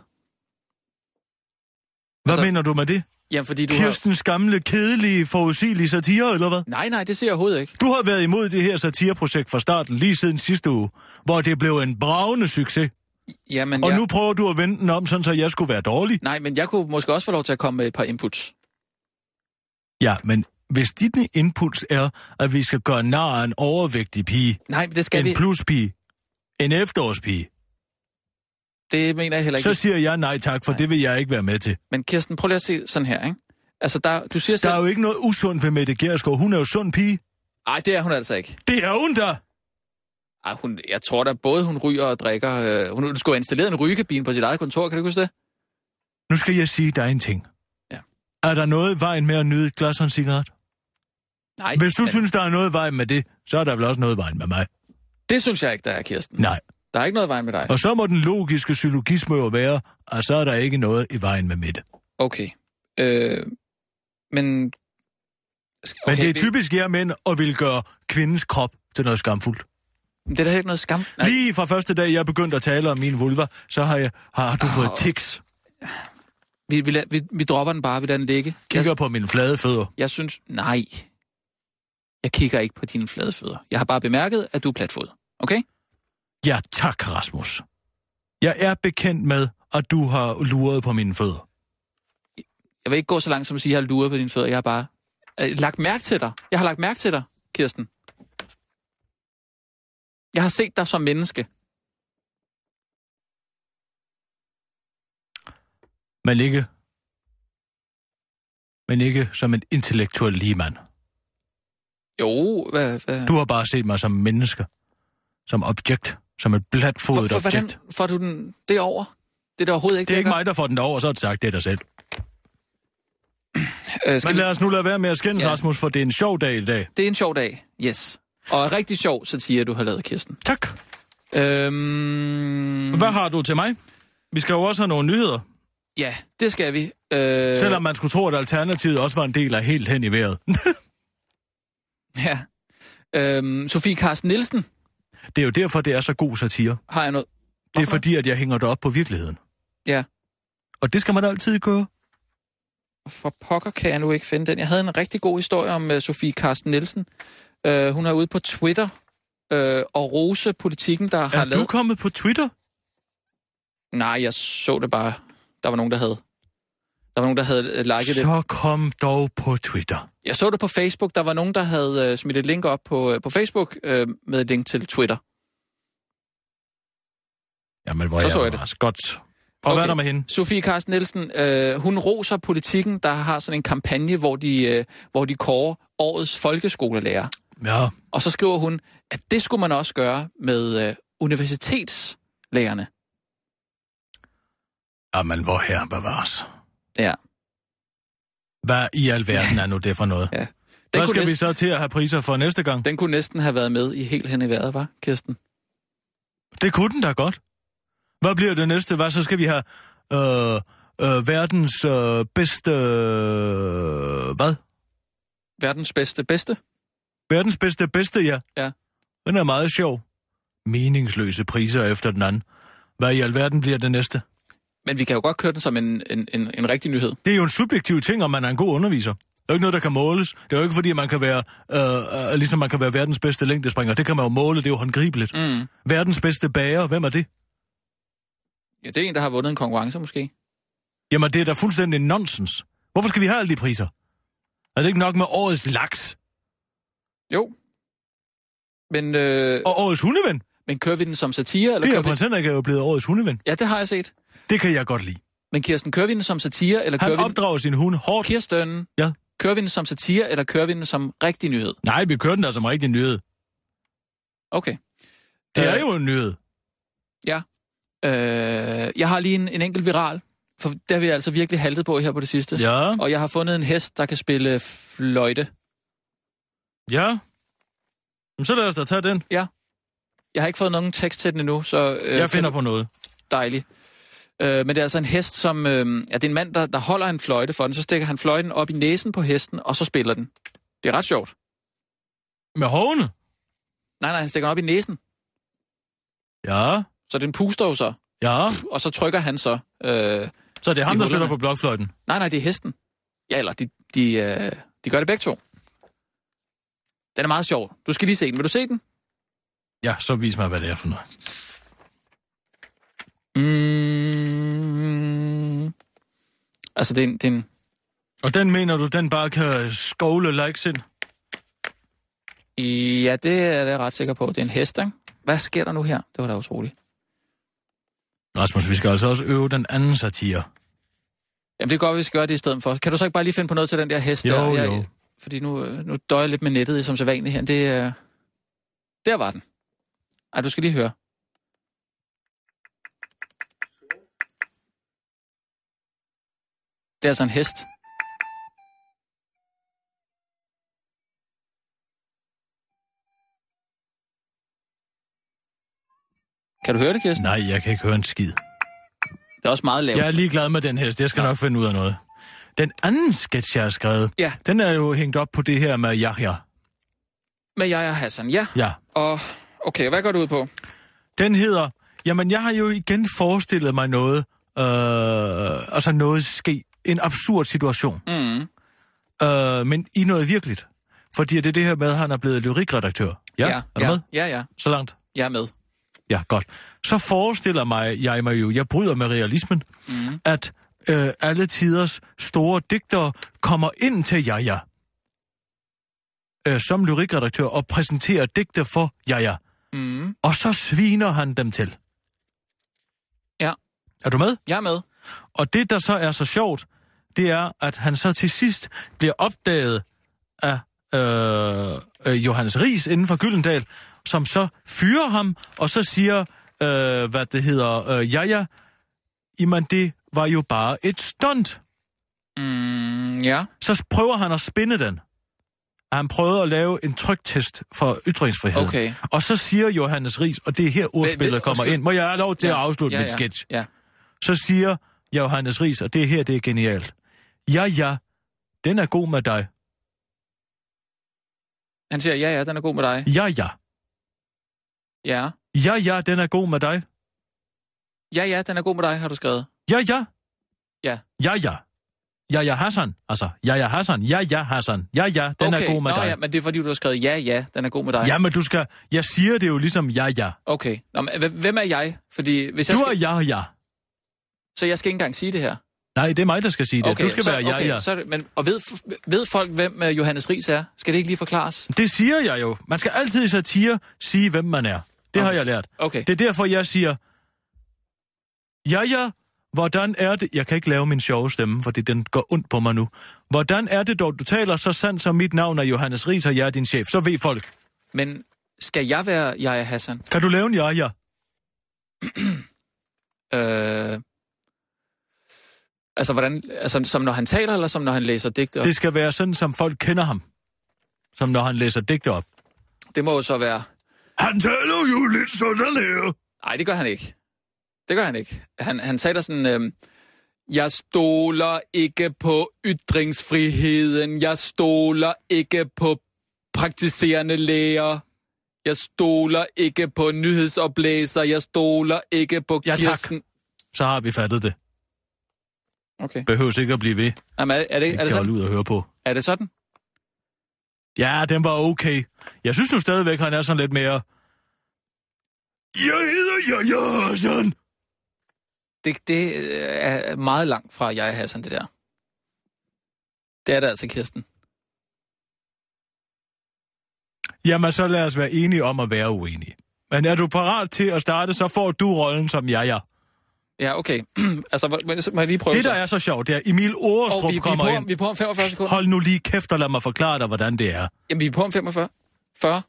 Speaker 4: Hvad
Speaker 5: Altså,
Speaker 4: mener du med det?
Speaker 5: Jamen, fordi du har...
Speaker 4: Kirstens gamle, kedelige, forudsigelige satire, eller hvad?
Speaker 5: Nej, nej, det ser jeg overhovedet ikke.
Speaker 4: Du har været imod det her satireprojekt fra starten lige siden sidste uge, hvor det blev en bravende succes.
Speaker 5: Jamen,
Speaker 4: Og
Speaker 5: jeg...
Speaker 4: nu prøver du at vende den om, sådan så jeg skulle være dårlig.
Speaker 5: Nej, men jeg kunne måske også få lov til at komme med et par inputs.
Speaker 4: Ja, men hvis dit impuls er, at vi skal gøre nar af en overvægtig pige,
Speaker 5: Nej, men det
Speaker 4: Skal
Speaker 5: skal
Speaker 4: en
Speaker 5: vi.
Speaker 4: vi... pluspige, en efterårspige,
Speaker 5: Det mener jeg heller
Speaker 4: så
Speaker 5: ikke.
Speaker 4: siger jeg nej tak, for
Speaker 5: Nej.
Speaker 4: nej. det vil jeg ikke være med til.
Speaker 5: Men Kirsten, prøv lige at se sådan her, ikke? Altså, der, du siger
Speaker 4: Der
Speaker 5: selv...
Speaker 4: er jo ikke noget usundt ved Mette Gersgaard. Hun er jo sund pige.
Speaker 5: Nej, det er hun altså ikke.
Speaker 4: Det er hun da.
Speaker 5: Ej, hun, jeg tror da både hun ryger og drikker. Øh, hun, hun skulle have installeret en rygekabine på sit eget kontor, kan du huske det?
Speaker 4: Nu skal jeg sige dig en ting.
Speaker 5: Ja.
Speaker 4: Er der noget i vejen med at nyde et glas og en cigaret?
Speaker 5: Nej,
Speaker 4: Hvis du
Speaker 5: men
Speaker 4: synes, der er noget i vejen med det, så er der vel også noget i vejen med
Speaker 5: Mm.
Speaker 4: mig.
Speaker 5: det synes jeg ikke, der er, Kirsten.
Speaker 4: Nej.
Speaker 5: Der er ikke noget i vejen med dig.
Speaker 4: Og så må den logiske psylogisme jo være, at så er der ikke noget i vejen med Mette.
Speaker 5: Okay. Øh, men... Okay,
Speaker 4: Men det er
Speaker 5: vi-
Speaker 4: typisk jer mænd at vil gøre kvindens krop til noget skamfuldt.
Speaker 5: Det er da ikke noget skam. Nej,
Speaker 4: Nej. Lige fra første dag, jeg begyndte at tale om min vulva, så har, jeg, har du fået tics.
Speaker 5: vi, vi, lad- vi, vi dropper den bare, vi lader den ligge.
Speaker 4: Kigger
Speaker 5: Jeg,
Speaker 4: på mine flade fødder.
Speaker 5: jeg synes... Nej. Jeg kigger ikke på dine flade fødder. Jeg har bare bemærket, at du er platfod. Okay?
Speaker 4: Ja tak, Rasmus. Jeg er bekendt med, at du har luret på mine fødder.
Speaker 5: Jeg vil ikke gå så langt som at sige, at jeg har luret på dine fødder. Jeg har bare øh, lagt mærke til dig. Jeg har lagt mærke til dig, Kirsten. Jeg har set dig som menneske.
Speaker 4: Men ikke... Men ikke som en intellektuel ligemand.
Speaker 5: Jo, hvad... hvad?
Speaker 4: Du har bare set mig som menneske. Som objekt. Som et blatfodet
Speaker 5: for, for,
Speaker 4: objekt.
Speaker 5: hvordan får du den derover? Det er der overhovedet ikke
Speaker 4: Det er ikke
Speaker 5: lækkert.
Speaker 4: mig, der får den over, så er det sagt, det er dig selv.
Speaker 5: Øh, skal
Speaker 4: Men
Speaker 5: vi-
Speaker 4: lad os nu lade være med at skændes, ja.
Speaker 5: Ja.
Speaker 4: Rasmus, for det er en sjov dag i dag.
Speaker 5: Det er en sjov dag, yes. Og rigtig sjov satire, du har lavet, Kirsten.
Speaker 4: Tak.
Speaker 5: Øhm,
Speaker 4: Hvad har du til mig? Vi skal jo også have nogle nyheder.
Speaker 5: Ja, det skal vi. Øh,
Speaker 4: Selvom man skulle tro, at alternativet også var en del af helt hen i vejret.
Speaker 5: Ja. Øhm, Sofie Carsten Nielsen
Speaker 4: Det er jo derfor, det er så god satire.
Speaker 5: har jeg noget.
Speaker 4: Det er
Speaker 5: Hvorfor?
Speaker 4: fordi, at jeg hænger det op på virkeligheden.
Speaker 5: Ja.
Speaker 4: Og det skal man altid gøre.
Speaker 5: For pokker kan jeg nu ikke finde den. Jeg havde en rigtig god historie om uh, Sofie Carsten Nielsen. Uh, hun er ude på Twitter uh, og rose politikken, der har
Speaker 4: Er
Speaker 5: lavet...
Speaker 4: du kommet på Twitter?
Speaker 5: Nej, jeg så det bare. Der var nogen, der havde... Der var nogen, der havde øh, liket det.
Speaker 4: Så kom dog på Twitter.
Speaker 5: Jeg så det på Facebook. Der var nogen, der havde uh, smidt et link op på, uh, på Facebook uh, med et link til Twitter.
Speaker 4: Jamen, hvor
Speaker 5: Så
Speaker 4: er
Speaker 5: så jeg
Speaker 4: jeg
Speaker 5: det.
Speaker 4: Rasmus. Godt. Og okay. hvad
Speaker 5: Okay.
Speaker 4: er der med hende?
Speaker 5: Sofie Carsten Nielsen, øh, hun roser politikken, der har sådan en kampagne, hvor de, øh, hvor de kårer årets folkeskolelærer.
Speaker 4: Ja,
Speaker 5: Og så skriver hun, at det skulle man også gøre med øh, universitetslærerne.
Speaker 4: jamen, hvor her bevares.
Speaker 5: Ja.
Speaker 4: Hvad i alverden er nu det for noget?
Speaker 5: Ja. Den,
Speaker 4: Hvad
Speaker 5: kunne
Speaker 4: skal vi
Speaker 5: næsten,
Speaker 4: så til at have priser for næste gang?
Speaker 5: den kunne næsten have været med i helt hen i vejret, var Kirsten?
Speaker 4: Det kunne den da godt. Hvad bliver det næste? Hvad så skal vi have? Øh, øh, verdens øh, bedste... Øh, hvad?
Speaker 5: Verdens bedste bedste?
Speaker 4: Verdens bedste bedste, ja.
Speaker 5: Ja.
Speaker 4: Den er meget sjov. Meningsløse priser efter den anden. Hvad i alverden bliver det næste?
Speaker 5: Men vi kan jo godt køre den som en, en, en, en rigtig nyhed.
Speaker 4: Det er jo en subjektiv ting, om man er en god underviser. Det er jo ikke noget, der kan måles. Det er jo ikke fordi, at man kan være, øh, øh, ligesom man kan være verdens bedste længdespringer. Det kan man jo måle, det er jo håndgribeligt.
Speaker 5: Mm.
Speaker 4: Verdens bedste bager, hvem er det?
Speaker 5: Ja, det er en, der har vundet en konkurrence måske.
Speaker 4: Jamen, det er da fuldstændig nonsens. Hvorfor skal vi have alle de priser? Er det ikke nok med årets laks
Speaker 5: Jo. Men, øh,
Speaker 4: og årets hundeven?
Speaker 5: men kører vi den som satire? Eller
Speaker 4: Det er
Speaker 5: kører vi...
Speaker 4: prins Henrik er jo blevet årets hundeven.
Speaker 5: Ja, det har jeg set.
Speaker 4: Det kan jeg godt lide.
Speaker 5: Men Kirsten, kører vi den som satire, eller kører vi
Speaker 4: Han
Speaker 5: den...
Speaker 4: opdrager sin hund hårdt.
Speaker 5: Kirsten,
Speaker 4: Ja.
Speaker 5: kører vi den som satire, eller kører vi den som rigtig nyhed?
Speaker 4: Nej, vi kører den da som rigtig nyhed.
Speaker 5: Okay.
Speaker 4: Det
Speaker 5: Øh,
Speaker 4: er jo en nyhed.
Speaker 5: Øh, jeg har lige en, en enkelt viral, for der vil jeg altså virkelig haltet på her på det sidste.
Speaker 4: Ja,
Speaker 5: Og jeg har fundet en hest, der kan spille fløjte.
Speaker 4: ja. Jamen, så lad os da tage den.
Speaker 5: Jeg har ikke fået nogen tekst til den endnu, så... Øh,
Speaker 4: Jeg finder på noget.
Speaker 5: Dejligt. Øh, men det er altså en hest, som... Øh, ja, det er en mand, der, der holder en fløjte for den. Så stikker han fløjten op i næsen på hesten, og så spiller den. Det er ret sjovt.
Speaker 4: Med hovene?
Speaker 5: Nej, nej, han stikker den op i næsen.
Speaker 4: Ja,
Speaker 5: Så den puster jo så.
Speaker 4: ja.
Speaker 5: Og så trykker han så... Øh,
Speaker 4: Så det er ham,
Speaker 5: I
Speaker 4: der spiller
Speaker 5: hullerne.
Speaker 4: på blokfløjten.
Speaker 5: Nej, nej, det er hesten. Ja, eller de, de, øh, de gør det begge to. Den er meget sjov. Du skal lige se den. Vil du se den?
Speaker 4: Ja, så vis mig, hvad det er for noget.
Speaker 5: Mm. Altså, det er, en, det er en...
Speaker 4: Og den mener du, den bare kan skovle likes ind?
Speaker 5: Ja, det er jeg ret sikker på. Det er en hest, ikke? Hvad sker der nu her? Det var da utroligt.
Speaker 4: Rasmus, vi skal altså også øve den anden satire.
Speaker 5: Jamen, det er godt, vi skal gøre det i stedet for. Kan du så ikke bare lige finde på noget til den der hest?
Speaker 4: Jo,
Speaker 5: der?
Speaker 4: jo.
Speaker 5: Fordi nu, øh, nu døjer jeg lidt med nettet, som så vanligt her. Det, øh, der var den. Ej, du skal lige høre. Det er altså en hest. Kan du høre det, Kirsten?
Speaker 4: Nej, jeg kan ikke høre en skid.
Speaker 5: Det er også meget lavt.
Speaker 4: Jeg er ligeglad med den hest. Jeg skal nok finde ud af noget. Den anden sketch, jeg har skrevet,
Speaker 5: Ja.
Speaker 4: den er jo hængt op på det her med Yahya.
Speaker 5: Men jeg er Hassan, ja.
Speaker 4: Ja.
Speaker 5: Og okay, hvad går du ud på?
Speaker 4: Den hedder, jamen jeg har jo igen forestillet mig noget, øh, altså noget ske, en absurd situation,
Speaker 5: Mm.
Speaker 4: øh, men i noget virkeligt. Fordi det er det her med, at han er blevet lyrikredaktør. Ja, ja, er du
Speaker 5: ja,
Speaker 4: ja. med?
Speaker 5: ja, ja,
Speaker 4: Så langt?
Speaker 5: jeg er med.
Speaker 4: Ja, godt. Så forestiller mig, jeg mig jo, jeg bryder med realismen, mm. at øh, alle tiders store digtere kommer ind til Jaja øh, som lyrikredaktør og præsenterer digte for Jaja.
Speaker 5: Mm.
Speaker 4: Og så sviner han dem til.
Speaker 5: Ja.
Speaker 4: Er du med?
Speaker 5: Jeg er med.
Speaker 4: Og det, der så er så sjovt, det er, at han så til sidst bliver opdaget af øh, øh, Johannes Ries inden for Gyldendal, som så fyrer ham, og så siger, øh, hvad det hedder, øh, ja ja, jamen det var jo bare et stunt.
Speaker 5: Mm, ja.
Speaker 4: Så prøver han at spinde den. Og Han prøvede at lave en trygtest for ytringsfriheden.
Speaker 5: Okay.
Speaker 4: Og så siger Johannes Ries, og det er her ordspillet kommer
Speaker 5: undskyld.
Speaker 4: ind. Må jeg have lov til
Speaker 5: ja.
Speaker 4: at afslutte
Speaker 5: ja,
Speaker 4: min
Speaker 5: ja,
Speaker 4: sketch?
Speaker 5: Ja.
Speaker 4: Så siger Johannes Ries, og det her, det er genialt. Ja, ja, den er god med dig.
Speaker 5: Han siger, ja, ja, den er god med dig.
Speaker 4: Ja, ja.
Speaker 5: Ja.
Speaker 4: Ja, ja, den er god med dig.
Speaker 5: Ja, ja, den er god med dig, har du skrevet.
Speaker 4: Ja, ja.
Speaker 5: Ja.
Speaker 4: Ja, ja. Ja, ja, Hassan. Altså, ja, ja, Hassan. Ja, ja, Hassan. Ja, ja, den
Speaker 5: okay.
Speaker 4: er god med
Speaker 5: Nå,
Speaker 4: dig.
Speaker 5: ja, men det er fordi, du har skrevet, ja, ja, den er god med dig.
Speaker 4: Ja, men du skal... Jeg siger det jo ligesom ja, ja.
Speaker 5: Okay. Nå, men, hv- hvem er jeg? Fordi hvis jeg
Speaker 4: Du er
Speaker 5: skal...
Speaker 4: ja, ja.
Speaker 5: Så jeg skal ikke engang sige det her.
Speaker 4: Nej, det er mig, der skal sige det.
Speaker 5: Okay,
Speaker 4: du skal
Speaker 5: så,
Speaker 4: være ja,
Speaker 5: okay,
Speaker 4: ja.
Speaker 5: Så, er det- men, og ved, ved folk, hvem øh, Johannes Ries er? Skal det ikke lige forklares?
Speaker 4: Det siger jeg jo. Man skal altid i satire sige, hvem man er. Det har
Speaker 5: Okay.
Speaker 4: jeg lært.
Speaker 5: Okay.
Speaker 4: Det er derfor, jeg siger, ja ja, hvordan er det, jeg kan ikke lave min sjove stemme, fordi den går ondt på mig nu. Hvordan er det dog, du taler så sandt som mit navn er Johannes Ries, og jeg er din chef, så ved folk.
Speaker 5: Men skal jeg være Jaja Hassan?
Speaker 4: Kan du lave en ja ja?
Speaker 5: Øh... Altså, hvordan, altså, som når han taler, eller som når han læser digte? op?
Speaker 4: Det skal være sådan, som folk kender ham. Som når han læser digte op.
Speaker 5: det må jo så være...
Speaker 4: Han taler jo lidt sådan her.
Speaker 5: Nej, det gør han ikke. Det gør han ikke. Han, han taler sådan, øh, jeg stoler ikke på ytringsfriheden, jeg stoler ikke på praktiserende læger, jeg stoler ikke på nyhedsoplæser, jeg stoler ikke på
Speaker 4: Ja, tak.
Speaker 5: Kirsten.
Speaker 4: Så har vi fattet det.
Speaker 5: Okay.
Speaker 4: Behøves ikke at blive ved.
Speaker 5: Jamen, er, er, det,
Speaker 4: Det
Speaker 5: er, det
Speaker 4: kan holde
Speaker 5: sådan?
Speaker 4: ud at høre på.
Speaker 5: er det sådan?
Speaker 4: Ja, den var okay. Jeg synes nu stadigvæk, han er sådan lidt mere... Jeg hedder Jaja Hassan.
Speaker 5: Det, det øh, er meget langt fra jeg Hassan, det der. Det er det altså, Kirsten.
Speaker 4: Jamen, så lad os være enige om at være uenige. Men er du parat til at starte, så får du rollen som Jaja.
Speaker 5: Ja, okay. altså, hvor- men så må jeg lige prøve
Speaker 4: Det, der
Speaker 5: så.
Speaker 4: er så sjovt, det er, Emil
Speaker 5: Og
Speaker 4: Orestrup
Speaker 5: vi, vi, er
Speaker 4: kommer
Speaker 5: på, om-
Speaker 4: ind.
Speaker 5: vi er på om 45 sekunder.
Speaker 4: Hold nu lige kæft, og lad mig forklare dig, hvordan det er.
Speaker 5: Jamen, vi er på om 45. 40.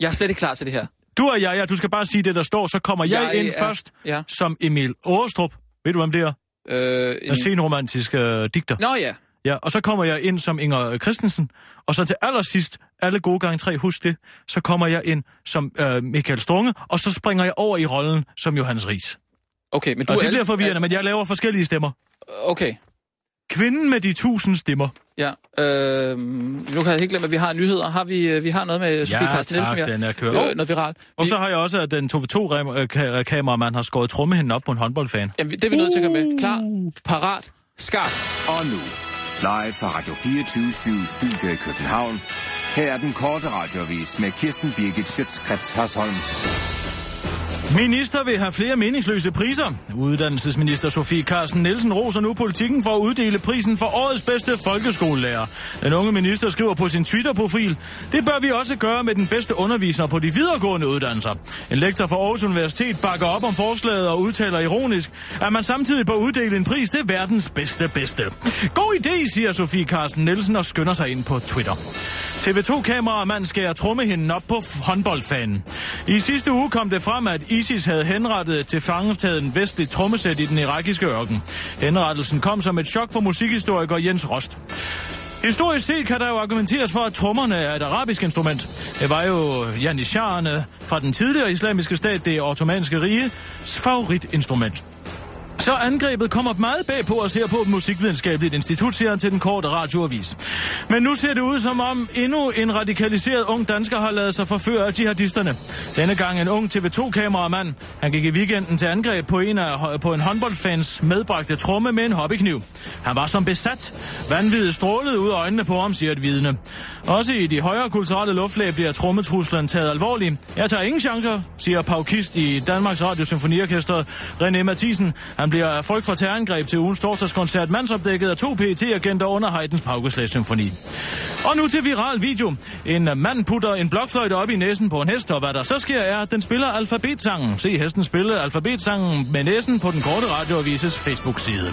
Speaker 5: Jeg er slet ikke klar til det her.
Speaker 4: Du og Jaja, du skal bare sige det, der står, så kommer jeg, jeg
Speaker 5: Jeg
Speaker 4: ind
Speaker 5: er-
Speaker 4: først
Speaker 5: Ja.
Speaker 4: som Emil Orestrup. Ved du, hvem det er?
Speaker 5: Øh,
Speaker 4: En senromantisk øh, digter.
Speaker 5: Nå ja.
Speaker 4: Ja, og så kommer jeg ind som Inger øh, Christensen, og så til allersidst, alle gode gange tre, husk det, så kommer jeg ind som øh, Michael Strunge, og så springer jeg over i rollen som Johannes Ries.
Speaker 5: Okay, men du
Speaker 4: Og
Speaker 5: er
Speaker 4: det bliver
Speaker 5: alle-
Speaker 4: forvirrende, men jeg laver forskellige stemmer.
Speaker 5: er- Okay,
Speaker 4: Kvinden med de tusind stemmer.
Speaker 5: ja. Øh, nu kan jeg helt glemme, at vi har nyheder. Har vi, øh, vi har noget med Sofie
Speaker 4: Ja,
Speaker 5: Carsten Nielsen,
Speaker 4: tak,
Speaker 5: vi har.
Speaker 4: den er kørt.
Speaker 5: Øh, noget viralt.
Speaker 4: Og
Speaker 5: Vi,
Speaker 4: så har jeg også, at den TV2-kameramand har skåret trommehinden op på en håndboldfan.
Speaker 5: jamen, det er vi nødt til at komme med. Klar, parat, skarp.
Speaker 6: Og nu, live fra Radio 24 Studio i København. Her er den korte radiovis med Kirsten Birgit Schøtzgrads Hasholm.
Speaker 4: Minister vil have flere meningsløse priser. Uddannelsesminister Sofie Carsten Nielsen roser nu politikken for at uddele prisen for årets bedste folkeskolelærer. Den unge minister skriver på sin Twitter-profil, det bør vi også gøre med den bedste underviser på de videregående uddannelser. En lektor fra Aarhus Universitet bakker op om forslaget og udtaler ironisk, at man samtidig bør uddele en pris til verdens bedste bedste. God idé, siger Sofie Carsten Nielsen og skynder sig ind på Twitter. TV2-kameramand skærer trommehinden op på f- håndboldfanen. I sidste uge kom det frem, at ISIS havde henrettet til fangetaget en vestlig trommesæt i den irakiske ørken. Henrettelsen kom som et chok for musikhistoriker Jens Rost. Historisk set kan der jo argumenteres for, at trommerne er et arabisk instrument. Det var jo janisharerne fra den tidligere islamiske stat, det ottomanske rige, favoritinstrument. Så angrebet kommer meget bag på os her på et musikvidenskabeligt institut, siger han til den korte radioavis. Men nu ser det ud som om endnu en radikaliseret ung dansker har lavet sig forføre af jihadisterne. Denne gang en ung TV2-kameramand. Han gik i weekenden til angreb på en, af, på en håndboldfans medbragte tromme med en hobbykniv. Han var som besat. Vanvittet strålede ud af øjnene på ham, siger et vidne. Også i de højere kulturelle luftlag bliver trommetruslen taget alvorligt. Jeg tager ingen chancer, siger paukist i Danmarks Radio Symfoniorkester René Mathisen. Han bliver af frygt for terrorangreb til ugens torsdagskoncert mandsopdækket af to pt agenter under Haydns Paukeslag-symfoni. Og nu til viral video. En mand putter en blokfløjte op i næsen på en hest, og hvad der så sker er, at den spiller alfabetsangen. Se hesten spille alfabetsangen med næsen på den korte radioavises Facebook-side.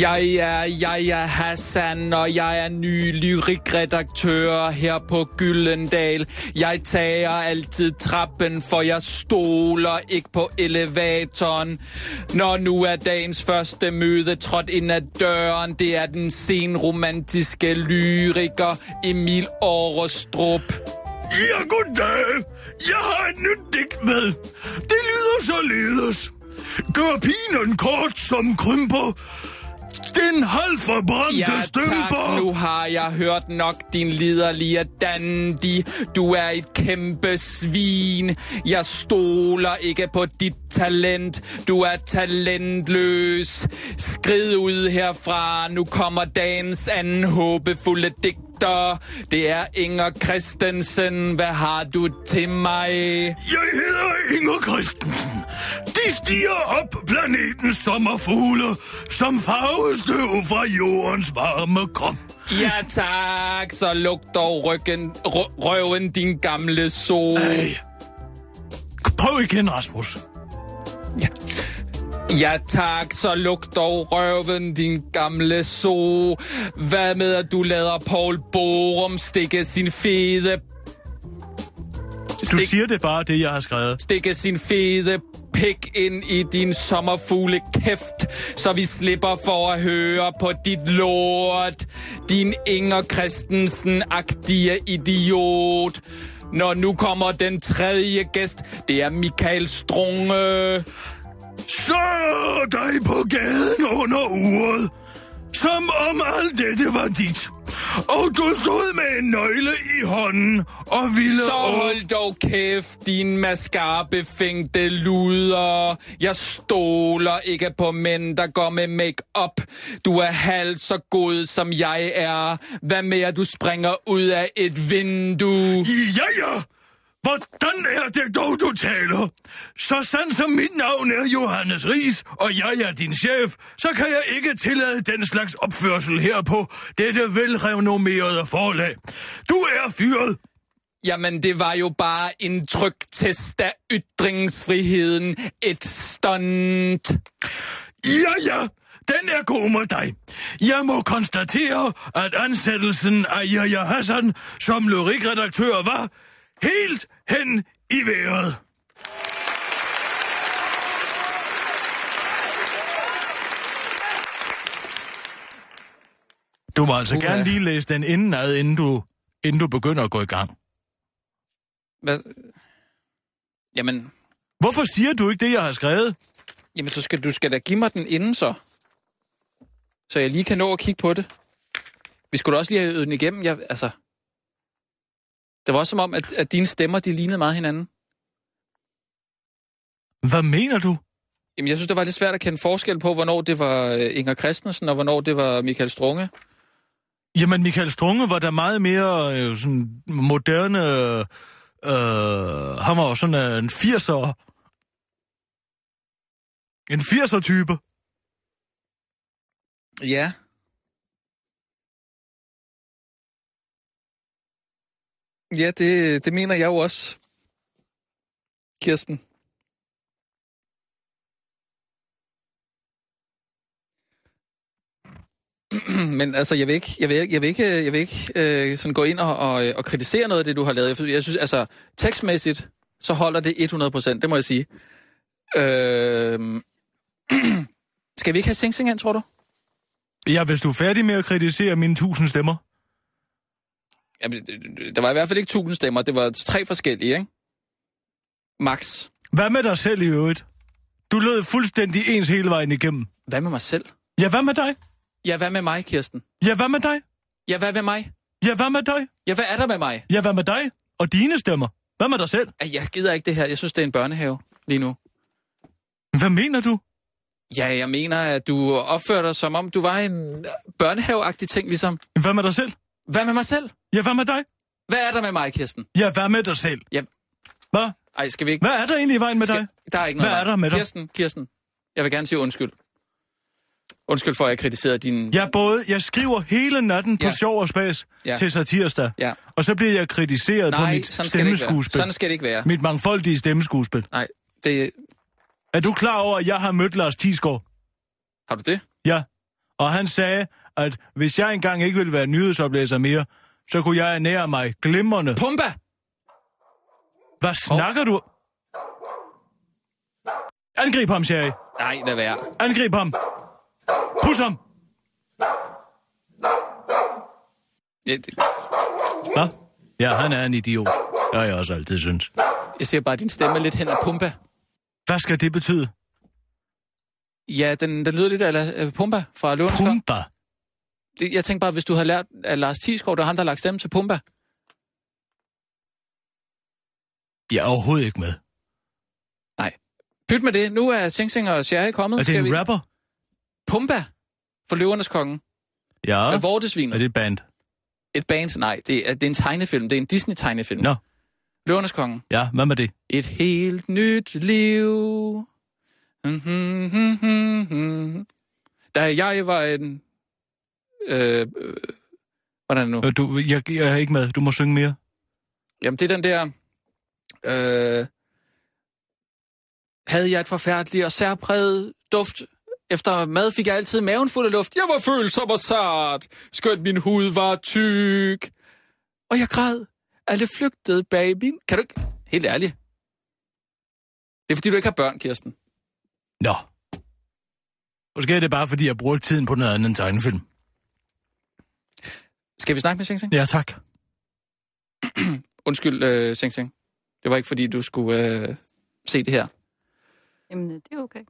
Speaker 5: Jeg er, jeg er Hassan, og jeg er ny lyrikredaktør her på Gyllendal. Jeg tager altid trappen, for jeg stoler ikke på elevatoren. Når nu er dagens første møde trådt ind ad døren, det er den senromantiske lyriker Emil Arestrup.
Speaker 4: Ja, goddag. Jeg har et nyt digt med. Det lyder således. Gør pinen kort som krymper. Den halvforbrændte
Speaker 5: Ja,
Speaker 4: støber.
Speaker 5: tak. Nu har jeg hørt nok din liderlige dandy. Du er et kæmpe svin. Jeg stoler ikke på dit talent. Du er talentløs. Skrid ud herfra. Nu kommer dagens anden håbefulde digter. Det er Inger Christensen. Hvad har du til mig?
Speaker 4: Jeg hedder Inger Christensen. De stiger op planetens sommerfugle, som farvestøv fra jordens varme krop.
Speaker 5: Ja tak, så luk dog ryggen, rø- røven, din gamle sol.
Speaker 4: Ej. Prøv igen, Rasmus.
Speaker 5: Ja tak, så luk dog røven, din gamle so. Hvad med, at du lader Paul Borum stikke sin fede...
Speaker 4: Du
Speaker 5: Stik,
Speaker 4: siger det bare, det jeg har skrevet.
Speaker 5: stikke sin fede pik ind i din sommerfugle kæft, så vi slipper for at høre på dit lort. Din Inger Christensen-agtige idiot. Når nu kommer den tredje gæst, det er Michael Strunge.
Speaker 4: Så dig på gaden under uret, som om alt dette var dit. Og du stod med en nøgle i hånden og ville...
Speaker 5: Så
Speaker 4: åb-
Speaker 5: hold dog kæft, din mascarbefængte luder. Jeg stoler ikke på mænd, der går med make-up. Du er halvt så god, som jeg er. Hvad med, at du springer ud af et vindue?
Speaker 4: Ja, ja. Hvordan er det dog, du taler? Så sandt som mit navn er Johannes Ries, og jeg er din chef, så kan jeg ikke tillade den slags opførsel her på dette velrenommerede forlag. Du er fyret.
Speaker 5: Jamen, det var jo bare en tryktest af ytringsfriheden. Et stunt.
Speaker 4: Ja, ja. Den er god med dig. Jeg må konstatere, at ansættelsen af Jaja Hassan som lyrikredaktør var helt hen i vejret. Du må altså
Speaker 5: Uha.
Speaker 4: gerne lige læse den indenad, inden du, inden du begynder at gå i gang.
Speaker 5: Hvad? Jamen,
Speaker 4: Hvorfor siger du ikke det, jeg har skrevet?
Speaker 5: jamen så skal, du skal da give mig den inden så. Så jeg lige kan nå at kigge på det. Vi skulle da også lige have øvet den igennem. Jeg, altså, det var også som om, at, at dine stemmer, de lignede meget hinanden.
Speaker 4: Hvad mener du?
Speaker 5: Jamen, jeg synes, det var lidt svært at kende forskel på, hvornår det var øh, Inger Christensen, og hvornår det var Michael Strunge.
Speaker 4: Jamen, Michael Strunge var da meget mere øh, sådan moderne Øh, han var jo sådan øh, en 80'er... En 80'er-type.
Speaker 5: Ja. Ja, det, det mener jeg jo også, Kirsten. Men altså, jeg vil ikke, jeg vil, jeg vil ikke, jeg vil ikke øh, sådan gå ind og, og, og kritisere noget af det, du har lavet. Jeg synes- Jeg synes, altså, tekstmæssigt, så holder det 100%, det må jeg sige. Øh, skal vi ikke have Sing Sing ind, tror du?
Speaker 4: Ja, hvis du er færdig med at kritisere mine tusind stemmer.
Speaker 5: Jamen, det- det- der var i hvert fald ikke tusind stemmer. Det var tre forskellige, ikke? Max.
Speaker 4: Hvad med dig selv i øvrigt? Du lød fuldstændig ens hele vejen igennem.
Speaker 5: Hvad med mig selv?
Speaker 4: Ja, hvad med dig?
Speaker 5: Ja, hvad med mig, Kirsten?
Speaker 4: Ja, hvad med dig?
Speaker 5: Ja, hvad med mig?
Speaker 4: Ja, hvad med dig?
Speaker 5: Ja, hvad er der med mig?
Speaker 4: Ja, hvad med dig? Og dine stemmer? Hvad med dig selv?
Speaker 5: Ej, Jeg gider ikke det her. Jeg synes, det er en børnehave lige nu.
Speaker 4: Hvad mener du?
Speaker 5: Ja, jeg mener, at du opfører dig, som om du var en øh, børnehaveagtig ting, ligesom.
Speaker 4: Hvad med dig selv?
Speaker 5: Hvad med mig selv?
Speaker 4: Ja, hvad med dig?
Speaker 5: Hvad er der med mig, Kirsten?
Speaker 4: Ja, hvad med dig selv?
Speaker 5: Ja.
Speaker 4: Hvad?
Speaker 5: Ej, skal vi ikke...
Speaker 4: Hvad er der egentlig i vejen med dig?
Speaker 5: Skal... Der er ikke noget
Speaker 4: Hvad er der med dig?
Speaker 5: Kirsten, Kirsten, jeg vil gerne sige undskyld. Undskyld for, at jeg kritiserede din...
Speaker 4: Jeg både, jeg skriver hele natten på
Speaker 5: Ja.
Speaker 4: ja. sjov og spas
Speaker 5: Ja.
Speaker 4: ja. til satirsdag,
Speaker 5: Ja.
Speaker 4: og så bliver jeg kritiseret på
Speaker 5: Nej,
Speaker 4: mit
Speaker 5: sådan skal, det ikke være.
Speaker 4: stemmeskuespil.
Speaker 5: sådan skal det ikke være.
Speaker 4: Mit mangfoldige stemmeskuespil.
Speaker 5: Nej, det...
Speaker 4: Er du klar over, at jeg har mødt Lars Tisgaard?
Speaker 5: Har du det?
Speaker 4: Ja. Og han sagde, at hvis jeg engang ikke ville være nyhedsoplæser mere, så kunne jeg ernære mig glimrende.
Speaker 5: Pumba!
Speaker 4: Hvad snakker du? Angrib ham, siger jeg.
Speaker 5: Nej, lad være.
Speaker 4: Angrib ham. Pus ham.
Speaker 5: Jeg, det-
Speaker 4: Hvad? Ja, han er en idiot. Det har jeg også altid synes.
Speaker 5: jeg ser bare, at din stemme er lidt hen ad Pumba.
Speaker 4: Hvad skal det betyde?
Speaker 5: Ja, den, den lyder lidt af La- øh, Pumba fra Løvens Konge.
Speaker 4: Pumba.
Speaker 5: Det- Jeg tænkte bare, hvis du havde lært af Lars Thiesgaard, det var ham, der har lagt stemme til Pumba.
Speaker 4: Jeg er overhovedet ikke med.
Speaker 5: Pyt med det. Nu er Sing Sing og Sherry kommet.
Speaker 4: Er det
Speaker 5: Skal
Speaker 4: en
Speaker 5: vi...
Speaker 4: rapper?
Speaker 5: Pumba fra Løvernes Konge.
Speaker 4: Ja.
Speaker 5: Ja.
Speaker 4: Er
Speaker 5: Vortesvinet.
Speaker 4: det et band?
Speaker 5: Et band? Nej, det er, det er en tegnefilm. Det er en Disney-tegnefilm.
Speaker 4: Nå.
Speaker 5: Løvernes Konge.
Speaker 4: Ja, hvad med det?
Speaker 5: Et helt nyt liv. Mhm, mhm, mhm. Da jeg var en... Øh, øh, hvordan er det nu?
Speaker 4: Øh, Du, jeg, jeg er ikke med. Du må synge mere.
Speaker 5: Jamen, det er den der... Øh, havde jeg et forfærdeligt og særpræget duft. Efter mad fik jeg altid maven fuld af luft. Jeg var følsom og sart, skønt min hud var tyk. Og jeg græd. Alle flygtede bag min... Kan du ikke... Helt ærligt. Det er fordi, du ikke har børn, Kirsten.
Speaker 4: Nå. Måske er det bare, fordi jeg bruger tiden på noget andet end tegnefilm.
Speaker 5: Skal vi snakke med Sing Sing?
Speaker 4: Ja, tak.
Speaker 5: Undskyld, øh, Sing Sing. Det var ikke fordi, du skulle øh, se det her.
Speaker 8: Jamen, øh, det er okay.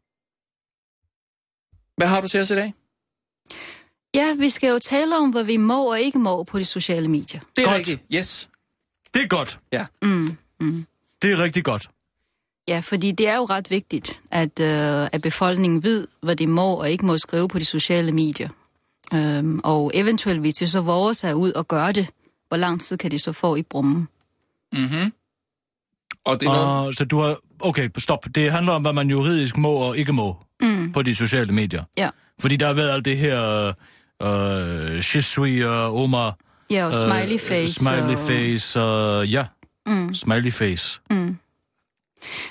Speaker 5: Hvad har du til os i dag?
Speaker 8: Ja, vi skal jo tale om, hvad vi må og ikke må på de sociale medier.
Speaker 5: Det er
Speaker 4: Godt.
Speaker 5: rigtigt. Yes.
Speaker 4: Det er godt.
Speaker 8: Mm. Mm.
Speaker 4: Det er rigtig godt.
Speaker 8: Ja, fordi det er jo ret vigtigt, at, øh, at befolkningen ved, hvad de må og ikke må skrive på de sociale medier. Øhm, og eventuelt, hvis de så våger sig ud og gøre det, hvor lang tid kan de så få i brummen?
Speaker 5: Mhm. Og det er noget...
Speaker 4: Og, så du har... Okay, stop. Det handler om, hvad man juridisk må og ikke må
Speaker 8: Mm.
Speaker 4: på de sociale medier.
Speaker 8: Ja.
Speaker 4: Fordi der har været alt det her... Øh, je suis, øh, Omar...
Speaker 8: Ja, og smiley face.
Speaker 4: Øh, smiley
Speaker 8: og-
Speaker 4: face, øh, ja.
Speaker 8: Mm.
Speaker 4: Smiley face.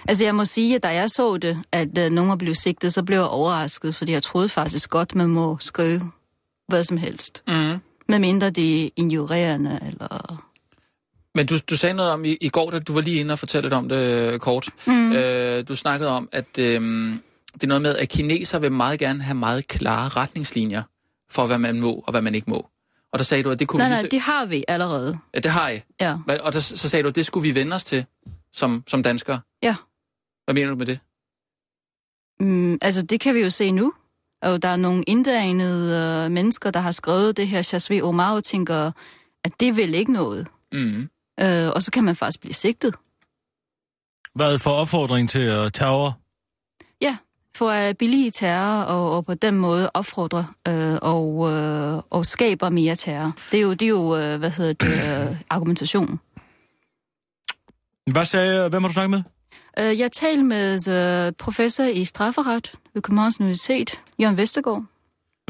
Speaker 8: Altså, jeg må sige, at da jeg så det, at øh, nogen blev sigtet, så blev jeg overrasket, fordi jeg troede faktisk godt, man må skrive hvad som helst.
Speaker 5: Mhm.
Speaker 8: Medmindre det er injurerende, eller...
Speaker 5: Men du, du sagde noget om i, i går, da du var lige inde og fortalte lidt om det øh, kort. Mm. Øh, du snakkede om, at øh, det er noget med, at kineser vil meget gerne have meget klare retningslinjer for, hvad man må og hvad man ikke må. Og der sagde du, at det kunne
Speaker 8: Nej,
Speaker 5: vi lige
Speaker 8: nej,
Speaker 5: så-
Speaker 8: det har vi allerede.
Speaker 5: Ja, det har I.
Speaker 8: Ja.
Speaker 5: Hvad- Og der, så sagde du, at det skulle vi vende os til som, som danskere.
Speaker 8: Ja.
Speaker 5: Hvad mener du med det?
Speaker 8: Mm, altså, det kan vi jo se nu. Og der er nogle indregnede øh, mennesker, der har skrevet det her. Chasvé Omar og tænker, at det vil ikke noget.
Speaker 5: Mm.
Speaker 8: Øh, og så kan man faktisk blive sigtet
Speaker 4: Hvad for opfordring til øh, terror?
Speaker 8: for at billige terror og, og på den måde opfordre øh, og, øh, og skaber mere terror. Det er jo, det er jo øh, hvad hedder det, øh, argumentation.
Speaker 4: Hvad sagde, hvem har du snakket med?
Speaker 8: Øh, Jeg talte med øh, professor i strafferet ved Københavns Universitet, Jørgen Vestergaard.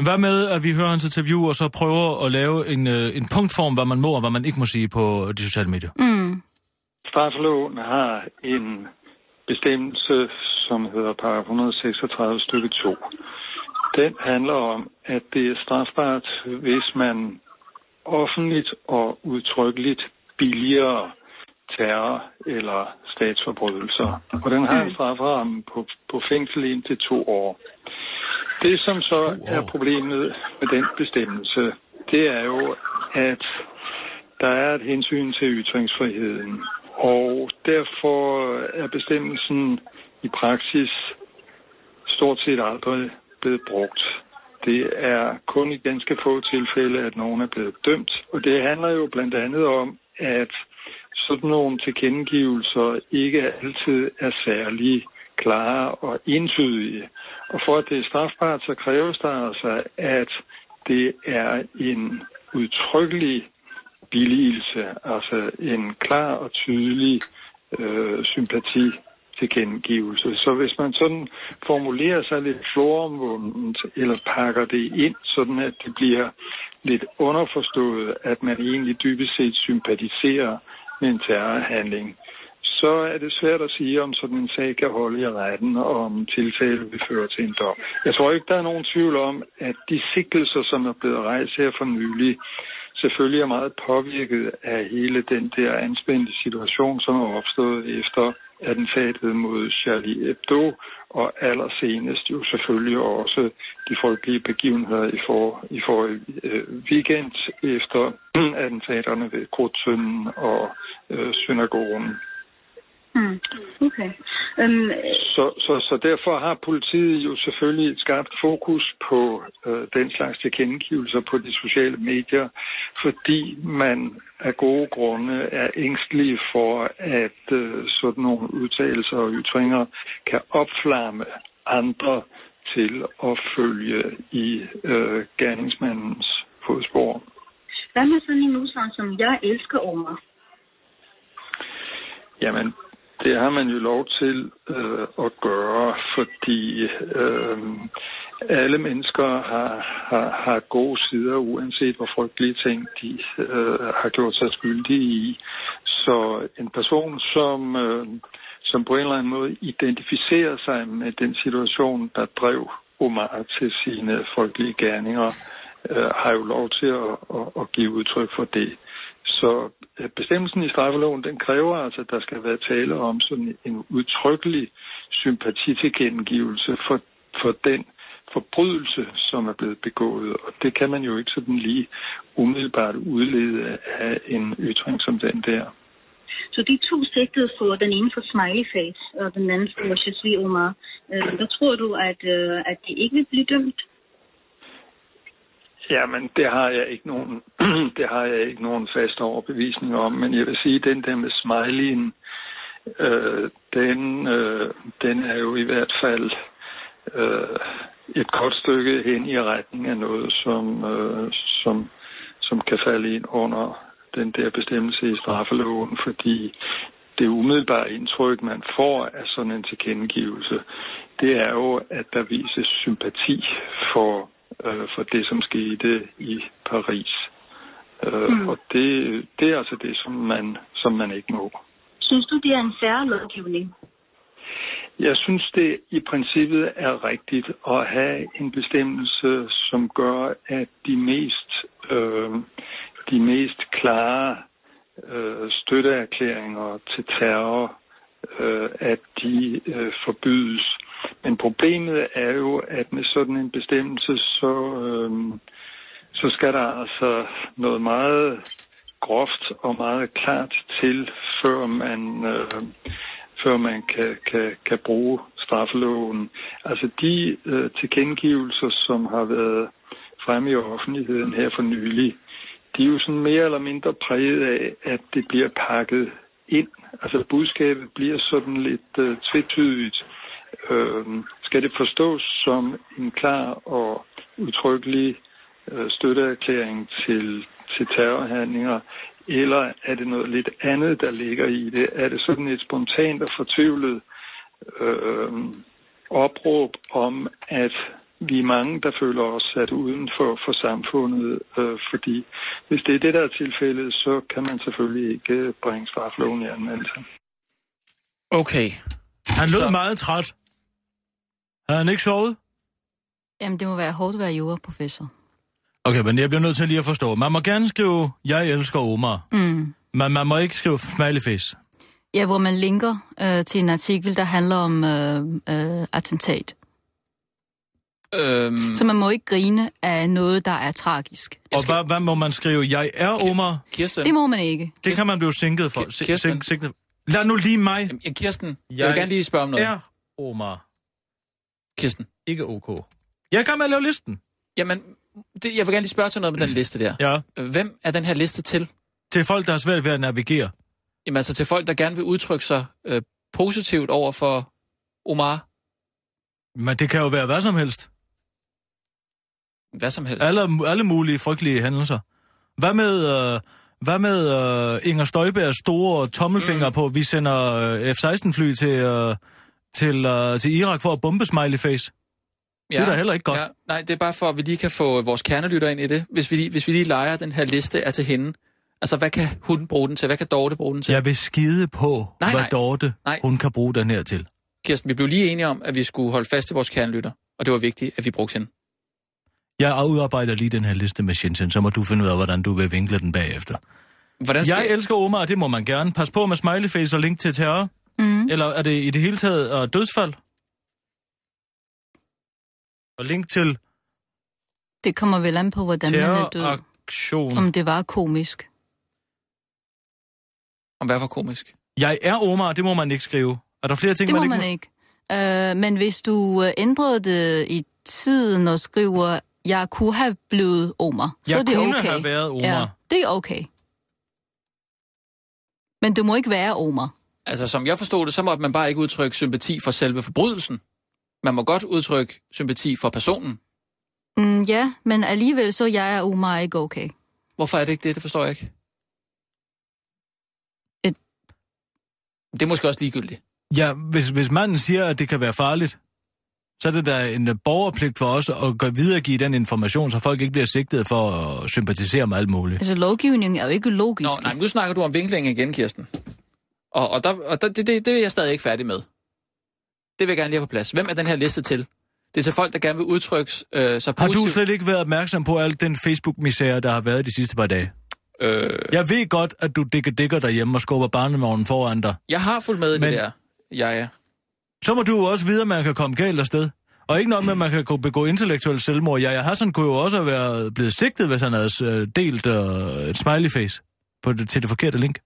Speaker 4: Hvad med, at vi hører hans interview, og så prøver at lave en, øh, en punktform, hvad man må og hvad man ikke må sige på de sociale medier?
Speaker 8: Mm.
Speaker 9: Straffeloven har en bestemmelse, som hedder paragraf 136 stykke 2. Den handler om, at det er strafbart, hvis man offentligt og udtrykkeligt billiger terror eller statsforbrydelser. Og den har en strafferamme på, på fængsel indtil to år. Det, som så er problemet med den bestemmelse, det er jo, at der er et hensyn til ytringsfriheden. Og derfor er bestemmelsen i praksis stort set aldrig blevet brugt. Det er kun i ganske få tilfælde, at nogen er blevet dømt. Og det handler jo blandt andet om, at sådan nogle tilkendegivelser ikke altid er særlig klare og entydige. Og for at det er strafbart, så kræves der altså, at det er en udtrykkelig billigelse, altså en klar og tydelig øh, sympati tilkendegivelse. Så hvis man sådan formulerer sig lidt floromvundet, eller pakker det ind, sådan at det bliver lidt underforstået, at man egentlig dybest set sympatiserer med en terrorhandling, så er det svært at sige, om sådan en sag kan holde i retten, og om tiltale vil føre til en dom. Jeg tror ikke, der er nogen tvivl om, at de sigtelser, som er blevet rejst her for nylig, selvfølgelig er meget påvirket af hele den der anspændte situation, som er opstået efter attentatet mod Charlie Hebdo, og allersenest jo selvfølgelig også de folkelige begivenheder i for, i for øh, weekend efter attentaterne ved Krudtønden og øh, synagogen.
Speaker 10: Mm. Okay. Øhm,
Speaker 9: Så, så, så derfor har politiet jo selvfølgelig et skarpt fokus på øh, den slags tilkendegivelser på de sociale medier, fordi man af gode grunde er ængstelig for, at øh, sådan nogle udtalelser og ytringer kan opflamme andre til at følge i øh, gerningsmandens fodspor.
Speaker 10: hvad med sådan en udsagn, som jeg elsker over?
Speaker 9: Jamen, det har man jo lov til øh, at gøre, fordi øh, alle mennesker har, har, har gode sider, uanset hvor frygtelige ting de øh, har gjort sig skyldige i. Så en person, som, øh, som på en eller anden måde identificerer sig med den situation, der drev Omar til sine frygtelige gerninger, øh, har jo lov til at, at, at give udtryk for det. Så øh, bestemmelsen i straffeloven, den kræver altså, at der skal være tale om sådan en udtrykkelig sympatitilkendegivelse for, for den forbrydelse, som er blevet begået. Og det kan man jo ikke sådan lige umiddelbart udlede af en ytring som den der.
Speaker 10: Så de to sigtede for den ene for smiley face, og den anden for Shazwi Omar. Øh, der tror du, at, øh, at de ikke vil blive dømt?
Speaker 9: Jamen, det har jeg ikke nogen, det har jeg ikke nogen fast overbevisning om, men jeg vil sige, at den der med smileyen, øh, den, øh, den er jo i hvert fald øh, et godt stykke hen i retning af noget, som, øh, som, som kan falde ind under den der bestemmelse i straffeloven, fordi det umiddelbare indtryk, man får af sådan en tilkendegivelse, det er jo, at der vises sympati for, øh, for det, som skete i Paris. Øh,
Speaker 10: Mm.
Speaker 9: mm. Og det, det er altså det, som man, som man ikke må.
Speaker 10: Synes du, det er en færre lovgivning?
Speaker 9: Jeg synes, det i princippet er rigtigt at have en bestemmelse, som gør, at de mest, øh, de mest klare øh, støtteerklæringer til terror, øh, at de øh, forbydes. Men problemet er jo, at med sådan en bestemmelse, så, øh, så skal der altså noget meget groft og meget klart til, før man... Øh, før man kan, kan, kan bruge straffeloven. Altså de øh, tilkendegivelser, som har været fremme i offentligheden her for nylig, de er jo sådan mere eller mindre præget af, at det bliver pakket ind. Altså budskabet bliver sådan lidt øh, tvetydigt. Øh, skal det forstås som en klar og udtrykkelig øh, støtteerklæring til, til terrorhandlinger, eller er det noget lidt andet, der ligger i det? Er det sådan et spontant og fortvivlet øh, opråb om, at vi er mange, der føler os sat uden for, for samfundet, øh, fordi hvis det er det, der er tilfældet, så kan man selvfølgelig ikke øh, bringe strafloven i anvendelse.
Speaker 5: Okay.
Speaker 4: Han lød
Speaker 5: Så-
Speaker 4: meget træt. Havde han ikke sovet?
Speaker 8: Jamen, det må være hårdt at være juraprofessor.
Speaker 4: Okay, men jeg bliver nødt til lige at forstå. Man må gerne skrive, jeg elsker Omar,
Speaker 8: Mm.
Speaker 4: men man må ikke skrive smiley face.
Speaker 8: Ja, hvor man linker øh, til en artikel, der handler om øh, øh, attentat.
Speaker 5: Øhm,
Speaker 8: Så man må ikke grine af noget, der er tragisk.
Speaker 4: Og hvad, hvad må man skrive? Jeg er Omar.
Speaker 5: Kirsten,
Speaker 8: Det må man ikke.
Speaker 4: Det kan man blive sinket for. Si-
Speaker 5: Kirsten.
Speaker 4: sink- sigtet- Lad nu lige mig.
Speaker 5: Jamen, Kirsten, jeg,
Speaker 4: Jeg
Speaker 5: vil gerne lige spørge om noget.
Speaker 4: Er Omar
Speaker 5: Kirsten.
Speaker 4: ikke OK? Jeg er i gang med at lave listen.
Speaker 5: Jamen, det, jeg vil gerne lige spørge til noget med den liste der.
Speaker 4: Ja.
Speaker 5: Hvem er den her liste til?
Speaker 4: Til folk, der har svært ved at navigere.
Speaker 5: Jamen altså til folk, der gerne vil udtrykke sig øh, positivt over for Omar.
Speaker 4: Men det kan jo være hvad som helst.
Speaker 5: Hvad som helst.
Speaker 4: Alle, alle mulige frygtelige hændelser. Hvad med, øh, hvad med øh, Inger Støjbergs store tommelfinger mm. på, vi sender øh, F-16-fly til, øh, til, øh, til Irak for at bombe smiley face? er da heller ikke godt.
Speaker 5: Ja, nej, det er bare for, at vi lige kan få vores kernelytter ind i det. Hvis vi, lige- hvis vi lige leger, at den her liste er til hende. Altså, hvad kan hun bruge den til? Hvad kan Dorte bruge den til?
Speaker 4: Jeg vil skide på, nej,
Speaker 5: Nej,
Speaker 4: hvad nej.
Speaker 5: nej.
Speaker 4: Dorte nej.
Speaker 5: Nej.
Speaker 4: hun kan bruge den her til.
Speaker 5: Kirsten, vi blev lige enige om, at vi skulle holde fast i vores kernelytter. Og det var vigtigt, at vi brugte hende.
Speaker 4: Jeg udarbejder lige den her liste med Shenzhen, så må du finde ud af, hvordan du vil vinkle den bagefter.
Speaker 5: Hvordan skal...
Speaker 4: Jeg elsker Omar, det må man gerne. Pas på med smileyface og link til terror.
Speaker 8: Mm.
Speaker 4: Eller er det i det hele taget uh, dødsfald? Og link til
Speaker 8: Det kommer vel an på, hvordan man er død.
Speaker 4: terroraktion.
Speaker 8: Om det var komisk.
Speaker 5: Om hvad var komisk?
Speaker 4: Jeg er Omar, det må man ikke skrive. Er der flere ting,
Speaker 8: Det må
Speaker 4: man,
Speaker 8: man
Speaker 4: ikke...
Speaker 8: ikke. Øh, men hvis du øh, ændrede det i tiden og skriver, jeg kunne have blevet Omar, så
Speaker 4: Jeg
Speaker 8: er det
Speaker 4: kunne
Speaker 8: okay.
Speaker 4: have været Omar.
Speaker 8: Ja, det er okay. Men du må ikke være Omar.
Speaker 5: Altså, som jeg forstod det, så måtte man bare ikke udtrykke sympati for selve forbrydelsen. Man må godt udtrykke sympati for personen.
Speaker 8: Mm, ja, men alligevel så jeg er Omar ikke okay.
Speaker 5: Hvorfor er det ikke det? Det forstår jeg ikke.
Speaker 8: Et-
Speaker 5: Det er måske også ligegyldigt.
Speaker 4: Ja, hvis, hvis manden siger, at det kan være farligt, så er det da en øh, borgerpligt for os at gå- videregive den information, så folk ikke bliver sigtet for at sympatisere med alt muligt.
Speaker 8: Altså lovgivningen er jo ikke logisk.
Speaker 5: Nå, nej, men nu snakker du om vinklingen igen, Kirsten. Og, og, der, og der, det, det, det er jeg stadig ikke færdig med. Det vil jeg gerne lige have på plads. Hvem er den her liste til? Det er til folk, der gerne vil udtrykke øh, sig
Speaker 4: Har du
Speaker 5: positivt.
Speaker 4: slet ikke været opmærksom på al den Facebook-misære, der har været de sidste par dage?
Speaker 5: Øh,
Speaker 4: Jeg ved godt, at du dækker dækker derhjemme og skubber barnevognen foran dig.
Speaker 5: jeg har fulgt med i
Speaker 4: Men-
Speaker 5: det der. Ja, ja.
Speaker 4: Så må du jo også vide, at man kan komme galt afsted. Og ikke nok med, at man kan gå- begå intellektuel selvmord. Yahya Hassan kunne jo også være blevet sigtet, hvis han havde øh, delt øh, et smiley face på det, til det forkerte link.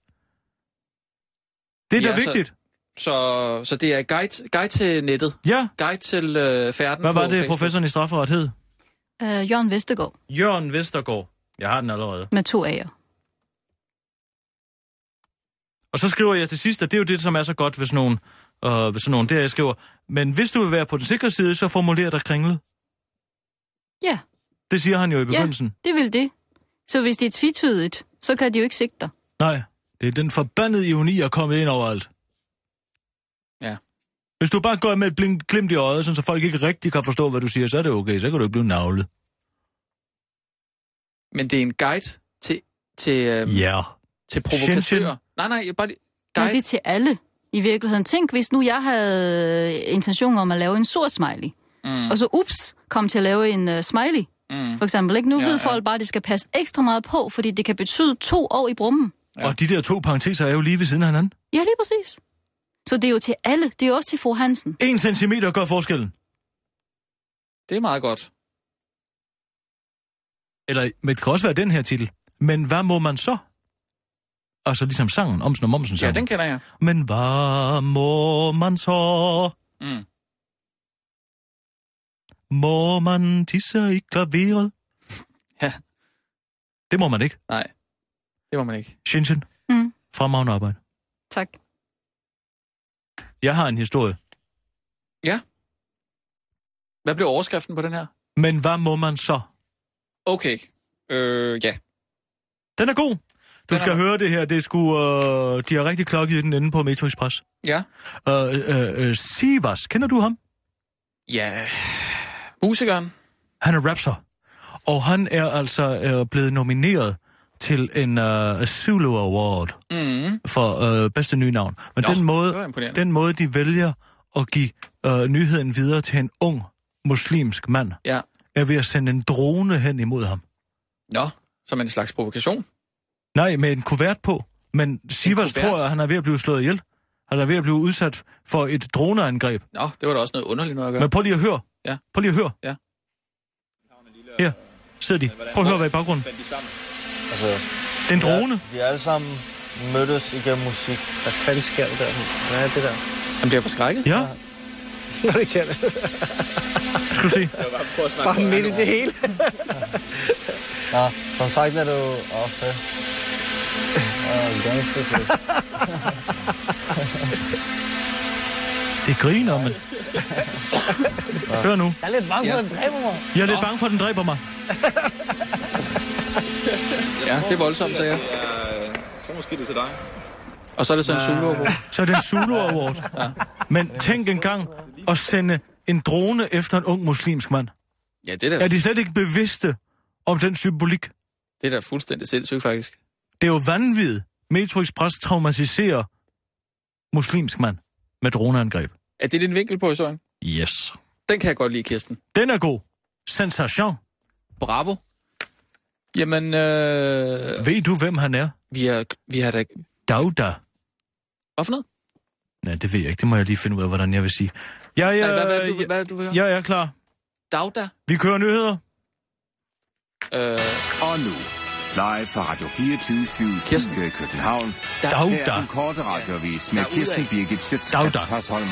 Speaker 4: Det er ja,
Speaker 5: Ja,
Speaker 4: da
Speaker 5: så-
Speaker 4: vigtigt.
Speaker 5: Så, så det er guide, guide til nettet.
Speaker 4: Ja,
Speaker 5: Guide til øh, færden
Speaker 4: hvad
Speaker 5: på
Speaker 4: var det,
Speaker 5: Facebook.
Speaker 4: professoren i strafferet hed?
Speaker 8: Øh, Jørgen Vestergaard
Speaker 4: Jørgen Vestergaard. Jeg har den allerede.
Speaker 8: med to A'er.
Speaker 4: Og så skriver jeg til sidst, og det er jo det, som er så godt ved sådan nogen, øh, ved sådan nogen der, jeg skriver, men hvis du vil være på den sikre side, så formuler dig kringlet.
Speaker 8: Ja,
Speaker 4: Det siger han jo i begyndelsen.
Speaker 8: det vil det. Så hvis det er tvetydigt, så kan de jo ikke sigte dig.
Speaker 4: Nej, det er den forbandede ironi at komme ind overalt.
Speaker 5: Ja.
Speaker 4: Hvis du bare går med et blink, glimt i øjet, sådan, så folk ikke rigtig kan forstå, hvad du siger, så er det okay, så kan du ikke blive navlet.
Speaker 5: Men det er en guide til, til, øhm,
Speaker 4: Ja.
Speaker 5: til
Speaker 4: Shenzhen.
Speaker 5: provokatører. Nej, nej, jeg bare lige...
Speaker 8: Nej, det er
Speaker 5: Guide.
Speaker 8: til alle i virkeligheden. Tænk, hvis nu jeg havde intention om at lave en sur smiley,
Speaker 5: Mm,
Speaker 8: og så ups, kom til at lave en uh, smiley,
Speaker 5: mm.
Speaker 8: for eksempel. Ikke? Nu
Speaker 5: Ja,
Speaker 8: ja, ved
Speaker 5: ja.
Speaker 8: folk bare, at de skal passe ekstra meget på, fordi det kan betyde to år i brummen.
Speaker 4: ja. Og de der to parenteser er jo lige ved siden af hinanden.
Speaker 8: Ja, lige præcis. Så det er jo til alle. Det er jo også til fru Hansen.
Speaker 4: En centimeter gør forskellen.
Speaker 5: Det er meget godt.
Speaker 4: Eller, men det kan også være den her titel. Men hvad må man så? Altså ligesom sangen, Omsen og Momsen
Speaker 5: Ja,
Speaker 4: sangen.
Speaker 5: den kender jeg.
Speaker 4: Men hvad må man så?
Speaker 5: Mm.
Speaker 4: Må man tisse i klaveret?
Speaker 5: Ja.
Speaker 4: Det må man ikke.
Speaker 5: Nej, det må man ikke.
Speaker 4: Shenzhen.
Speaker 8: Mm.
Speaker 4: Fremragende arbejde.
Speaker 8: Tak.
Speaker 4: Jeg har en historie.
Speaker 5: Hvad blev overskriften på den her?
Speaker 4: Men hvad må man så?
Speaker 5: Okay, øh, ja.
Speaker 4: Den er god. Du skal høre det her. Det er sgu, øh, de har rigtig klokket i den inde på Metro Express.
Speaker 5: Ja.
Speaker 4: Øh, øh, øh, Sivas, kender du ham?
Speaker 5: Ja. Musikeren.
Speaker 4: Han er rapper. Og han er altså øh, blevet nomineret til en øh, Zulu Award
Speaker 5: Mm.
Speaker 4: for øh, bedste nye navn. Men
Speaker 5: Nå,
Speaker 4: den
Speaker 5: det var
Speaker 4: måde,
Speaker 5: imponerende.
Speaker 4: den måde, de vælger at give øh, nyheden videre til en ung muslimsk mand,
Speaker 5: Ja.
Speaker 4: er ved at sende en drone hen imod ham.
Speaker 5: Nå, som en slags provokation.
Speaker 4: Nej, med en kuvert på. Men Sivas
Speaker 5: kuvert?
Speaker 4: tror, at han er ved at blive slået ihjel. Han er ved at blive udsat for et droneangreb.
Speaker 5: Nå, det var da også noget underligt noget at gøre.
Speaker 4: Men prøv lige at høre.
Speaker 5: Ja.
Speaker 4: Prøv lige at høre.
Speaker 5: Ja.
Speaker 4: Her sidder de. Prøv at høre, hvad i baggrunden.
Speaker 11: Altså,
Speaker 4: Det er en drone.
Speaker 11: vi er alle sammen mødtes igennem musik. Hvad fanden sker der? Hvad er det der?
Speaker 5: Han bliver forskrækket.
Speaker 4: Ja,
Speaker 11: Nå, det kan det.
Speaker 4: skal du se.
Speaker 11: Bare midt i det hele. Nå, som sagt er det jo ofte. Og ganske fedt.
Speaker 4: Det griner, men... Hør nu.
Speaker 11: Jeg er lidt bange for, at den dræber mig.
Speaker 4: Jeg er lidt bange for, at den dræber mig.
Speaker 5: Ja, det er voldsomt, sagde jeg. øh, Så måske det til dig. Og så er det sådan en solo -robot.
Speaker 4: Så er det en Zulu Award. Men tænk engang at sende en drone efter en ung muslimsk mand.
Speaker 5: Ja, det er da,
Speaker 4: Er de slet ikke bevidste om den symbolik?
Speaker 5: det er da fuldstændig sindssygt, faktisk.
Speaker 4: Det er jo vanvittigt. Metro Express traumatiserer muslimsk mand med droneangreb.
Speaker 5: Er det din vinkel på historien?
Speaker 4: Yes.
Speaker 5: Den kan jeg godt lide, Kirsten.
Speaker 4: Den er god. Sensation.
Speaker 5: Bravo. Jamen, øh,
Speaker 4: Ved du, hvem han er?
Speaker 5: vi har vi har da...
Speaker 4: Dauda.
Speaker 5: Hvad for noget?
Speaker 4: Nej, det ved jeg ikke. Det må jeg lige finde ud af, hvordan jeg vil sige. Jeg, jeg,
Speaker 5: Ja, hvad, hvad, er det, du,
Speaker 4: jeg,
Speaker 5: hvad er det, du vil høre?
Speaker 4: jeg er klar.
Speaker 5: Dagda.
Speaker 4: Vi kører nyheder.
Speaker 5: Øh,
Speaker 6: Og nu, live fra Radio 24 7,
Speaker 5: Kirsten.
Speaker 6: Studio i København. Her er
Speaker 4: Dauda.
Speaker 6: den korte radiovis med
Speaker 5: Derudad.
Speaker 6: Kirsten Birgit Schøtzgrads
Speaker 4: Dauda.
Speaker 6: Hasholm.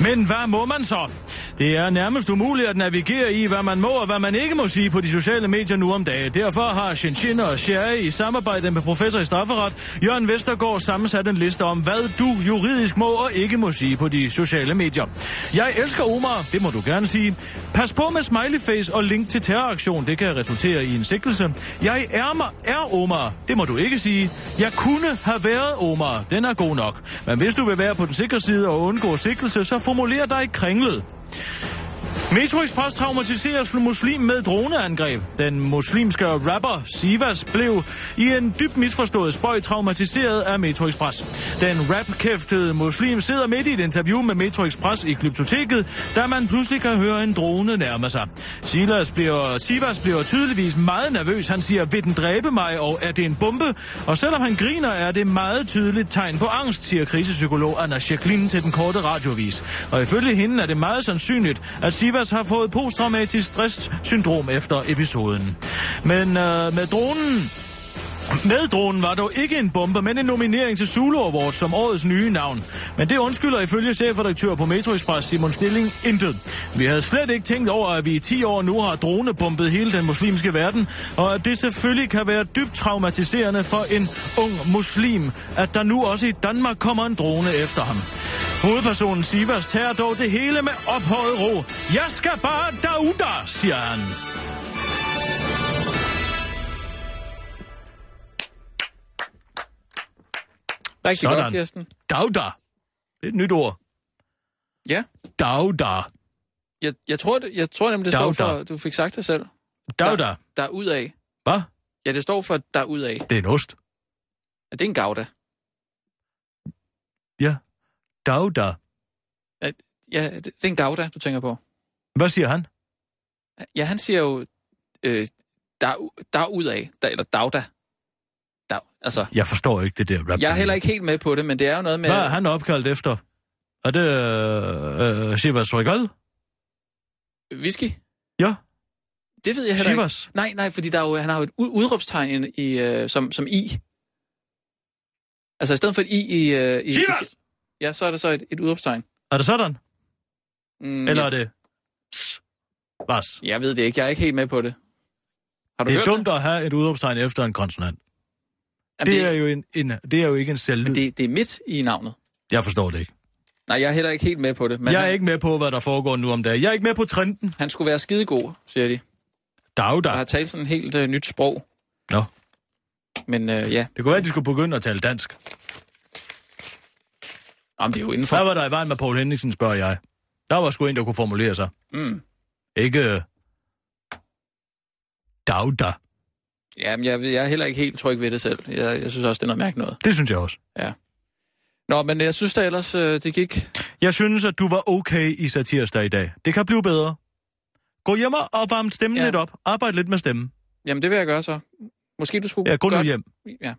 Speaker 4: Men hvad må man så? Det er nærmest umuligt at navigere i, hvad man må og hvad man ikke må sige på de sociale medier nu om dagen. Derfor har Shinshin og Sherry i samarbejde med professor i strafferet, Jørgen Vestergaard, sammensat en liste om, hvad du juridisk må og ikke må sige på de sociale medier. Jeg elsker Omar, det må du gerne sige. Pas på med smileyface og link til terroraktion, det kan resultere i en sigtelse. Jeg er, ma- er Omar, det må du ikke sige. Jeg kunne have været Omar, den er god nok. Men hvis du vil være på den sikre side og undgå sigtelse, så formuler dig kringlet. Metro Express traumatiserer slu- muslim med droneangreb. Den muslimske rapper Sivas blev i en dybt misforstået spøj traumatiseret af Metro Express. Den rapkæftede muslim sidder midt i et interview med Metro Express i Glyptoteket, da man pludselig kan høre en drone nærme sig. Silas bliver, Sivas bliver tydeligvis meget nervøs. Han siger, vil den dræbe mig, og er det en bombe? Og selvom han griner, er det meget tydeligt tegn på angst, siger krisepsykolog Anna Jacqueline til den korte radiovis. Og ifølge hende er det meget sandsynligt, at Sivas har fået posttraumatisk stresssyndrom efter episoden. Men øh, med dronen med dronen var dog ikke en bombe, men en nominering til Zulu Award som årets nye navn. Men det undskylder ifølge chefredaktør på Metro Express Simon Stilling intet. Vi havde slet ikke tænkt over, at vi i 10 år nu har dronebombet hele den muslimske verden, og at det selvfølgelig kan være dybt traumatiserende for en ung muslim, at der nu også i Danmark kommer en drone efter ham. Hovedpersonen Sivas tager dog det hele med ophøjet ro. Jeg skal bare deruda, siger han.
Speaker 5: rigtig
Speaker 4: Sådan.
Speaker 5: godt, Kirsten.
Speaker 4: Dauda. Det er et nyt ord.
Speaker 5: Ja,
Speaker 4: Dauda.
Speaker 5: jeg, jeg, tror, det, jeg tror nemlig, det
Speaker 4: Dagda.
Speaker 5: står for, du fik sagt det selv.
Speaker 4: Dauda.
Speaker 5: Der er ud af.
Speaker 4: Hvad?
Speaker 5: Ja, det står for, der er ud af.
Speaker 4: Det er en ost.
Speaker 5: Er det en gavda?
Speaker 4: Dauda.
Speaker 5: Ja, det, det er en gavda, du tænker på.
Speaker 4: Hvad siger han?
Speaker 5: Ja, han siger jo, øh, der, er u- der er ud af, der, eller dagda. Dag, altså,
Speaker 4: Jeg forstår ikke det der rap.
Speaker 5: jeg er heller ikke helt med på det, men det er jo noget med...
Speaker 4: Hvad er han opkaldt efter? Er det øh, øh, Sivas Regal?
Speaker 5: Whisky?
Speaker 4: Ja,
Speaker 5: Det ved jeg heller ikke.
Speaker 4: Sivas.
Speaker 5: Nej, nej, fordi der er jo, han har jo et ud- udråbstegn i, i, øh, som, som i. Altså i stedet for et i i... Øh, i
Speaker 4: Sivas!
Speaker 5: i- Ja, så er der så et, et udråbstegn.
Speaker 4: Er det sådan?
Speaker 5: Mm,
Speaker 4: Eller er
Speaker 5: jeg,
Speaker 4: det... Vas.
Speaker 5: jeg ved det ikke, jeg er ikke helt med på det. Har du
Speaker 4: Det er
Speaker 5: hørt
Speaker 4: dumt
Speaker 5: det?
Speaker 4: at have et udråbstegn efter en konsonant.
Speaker 5: Jamen,
Speaker 4: Det er jo, en, en, det er jo ikke en
Speaker 5: men
Speaker 4: selvlyd.
Speaker 5: det, det er midt i navnet.
Speaker 4: Jeg forstår det ikke.
Speaker 5: Nej, jeg er heller ikke helt med på det. Men
Speaker 4: Jeg
Speaker 5: han,
Speaker 4: er ikke med på, hvad der foregår nu om dagen. Jeg er ikke med på trenden.
Speaker 5: han skulle være skidegod, siger de. Og
Speaker 4: Dauda.
Speaker 5: har talt sådan et helt øh, nyt sprog.
Speaker 4: Nå.
Speaker 5: Men øh, ja.
Speaker 4: Det kunne være, at de skulle begynde at tale dansk.
Speaker 5: Jamen, det er jo indenfor.
Speaker 4: Der var der i vejen med Poul Henningsen, spørger jeg. Der var sgu en, der kunne formulere sig.
Speaker 5: Mm.
Speaker 4: Ikke... øh, Dauda.
Speaker 5: Jamen, jeg, jeg er heller ikke helt tryg ved det selv. Jeg, jeg synes også, det er noget mærkeligt noget.
Speaker 4: Det synes jeg også.
Speaker 5: Nå, men jeg synes da ellers, øh, det gik.
Speaker 4: Jeg synes, at du var okay i satirsdag i dag. Det kan blive bedre. Gå hjem og varm stemmen
Speaker 5: Ja.
Speaker 4: ja. lidt op. Arbejd lidt med stemmen.
Speaker 5: Jamen, det vil jeg gøre så. Måske du skulle...
Speaker 4: Ja, gå nu
Speaker 5: gøre-
Speaker 4: hjem.
Speaker 5: Ja.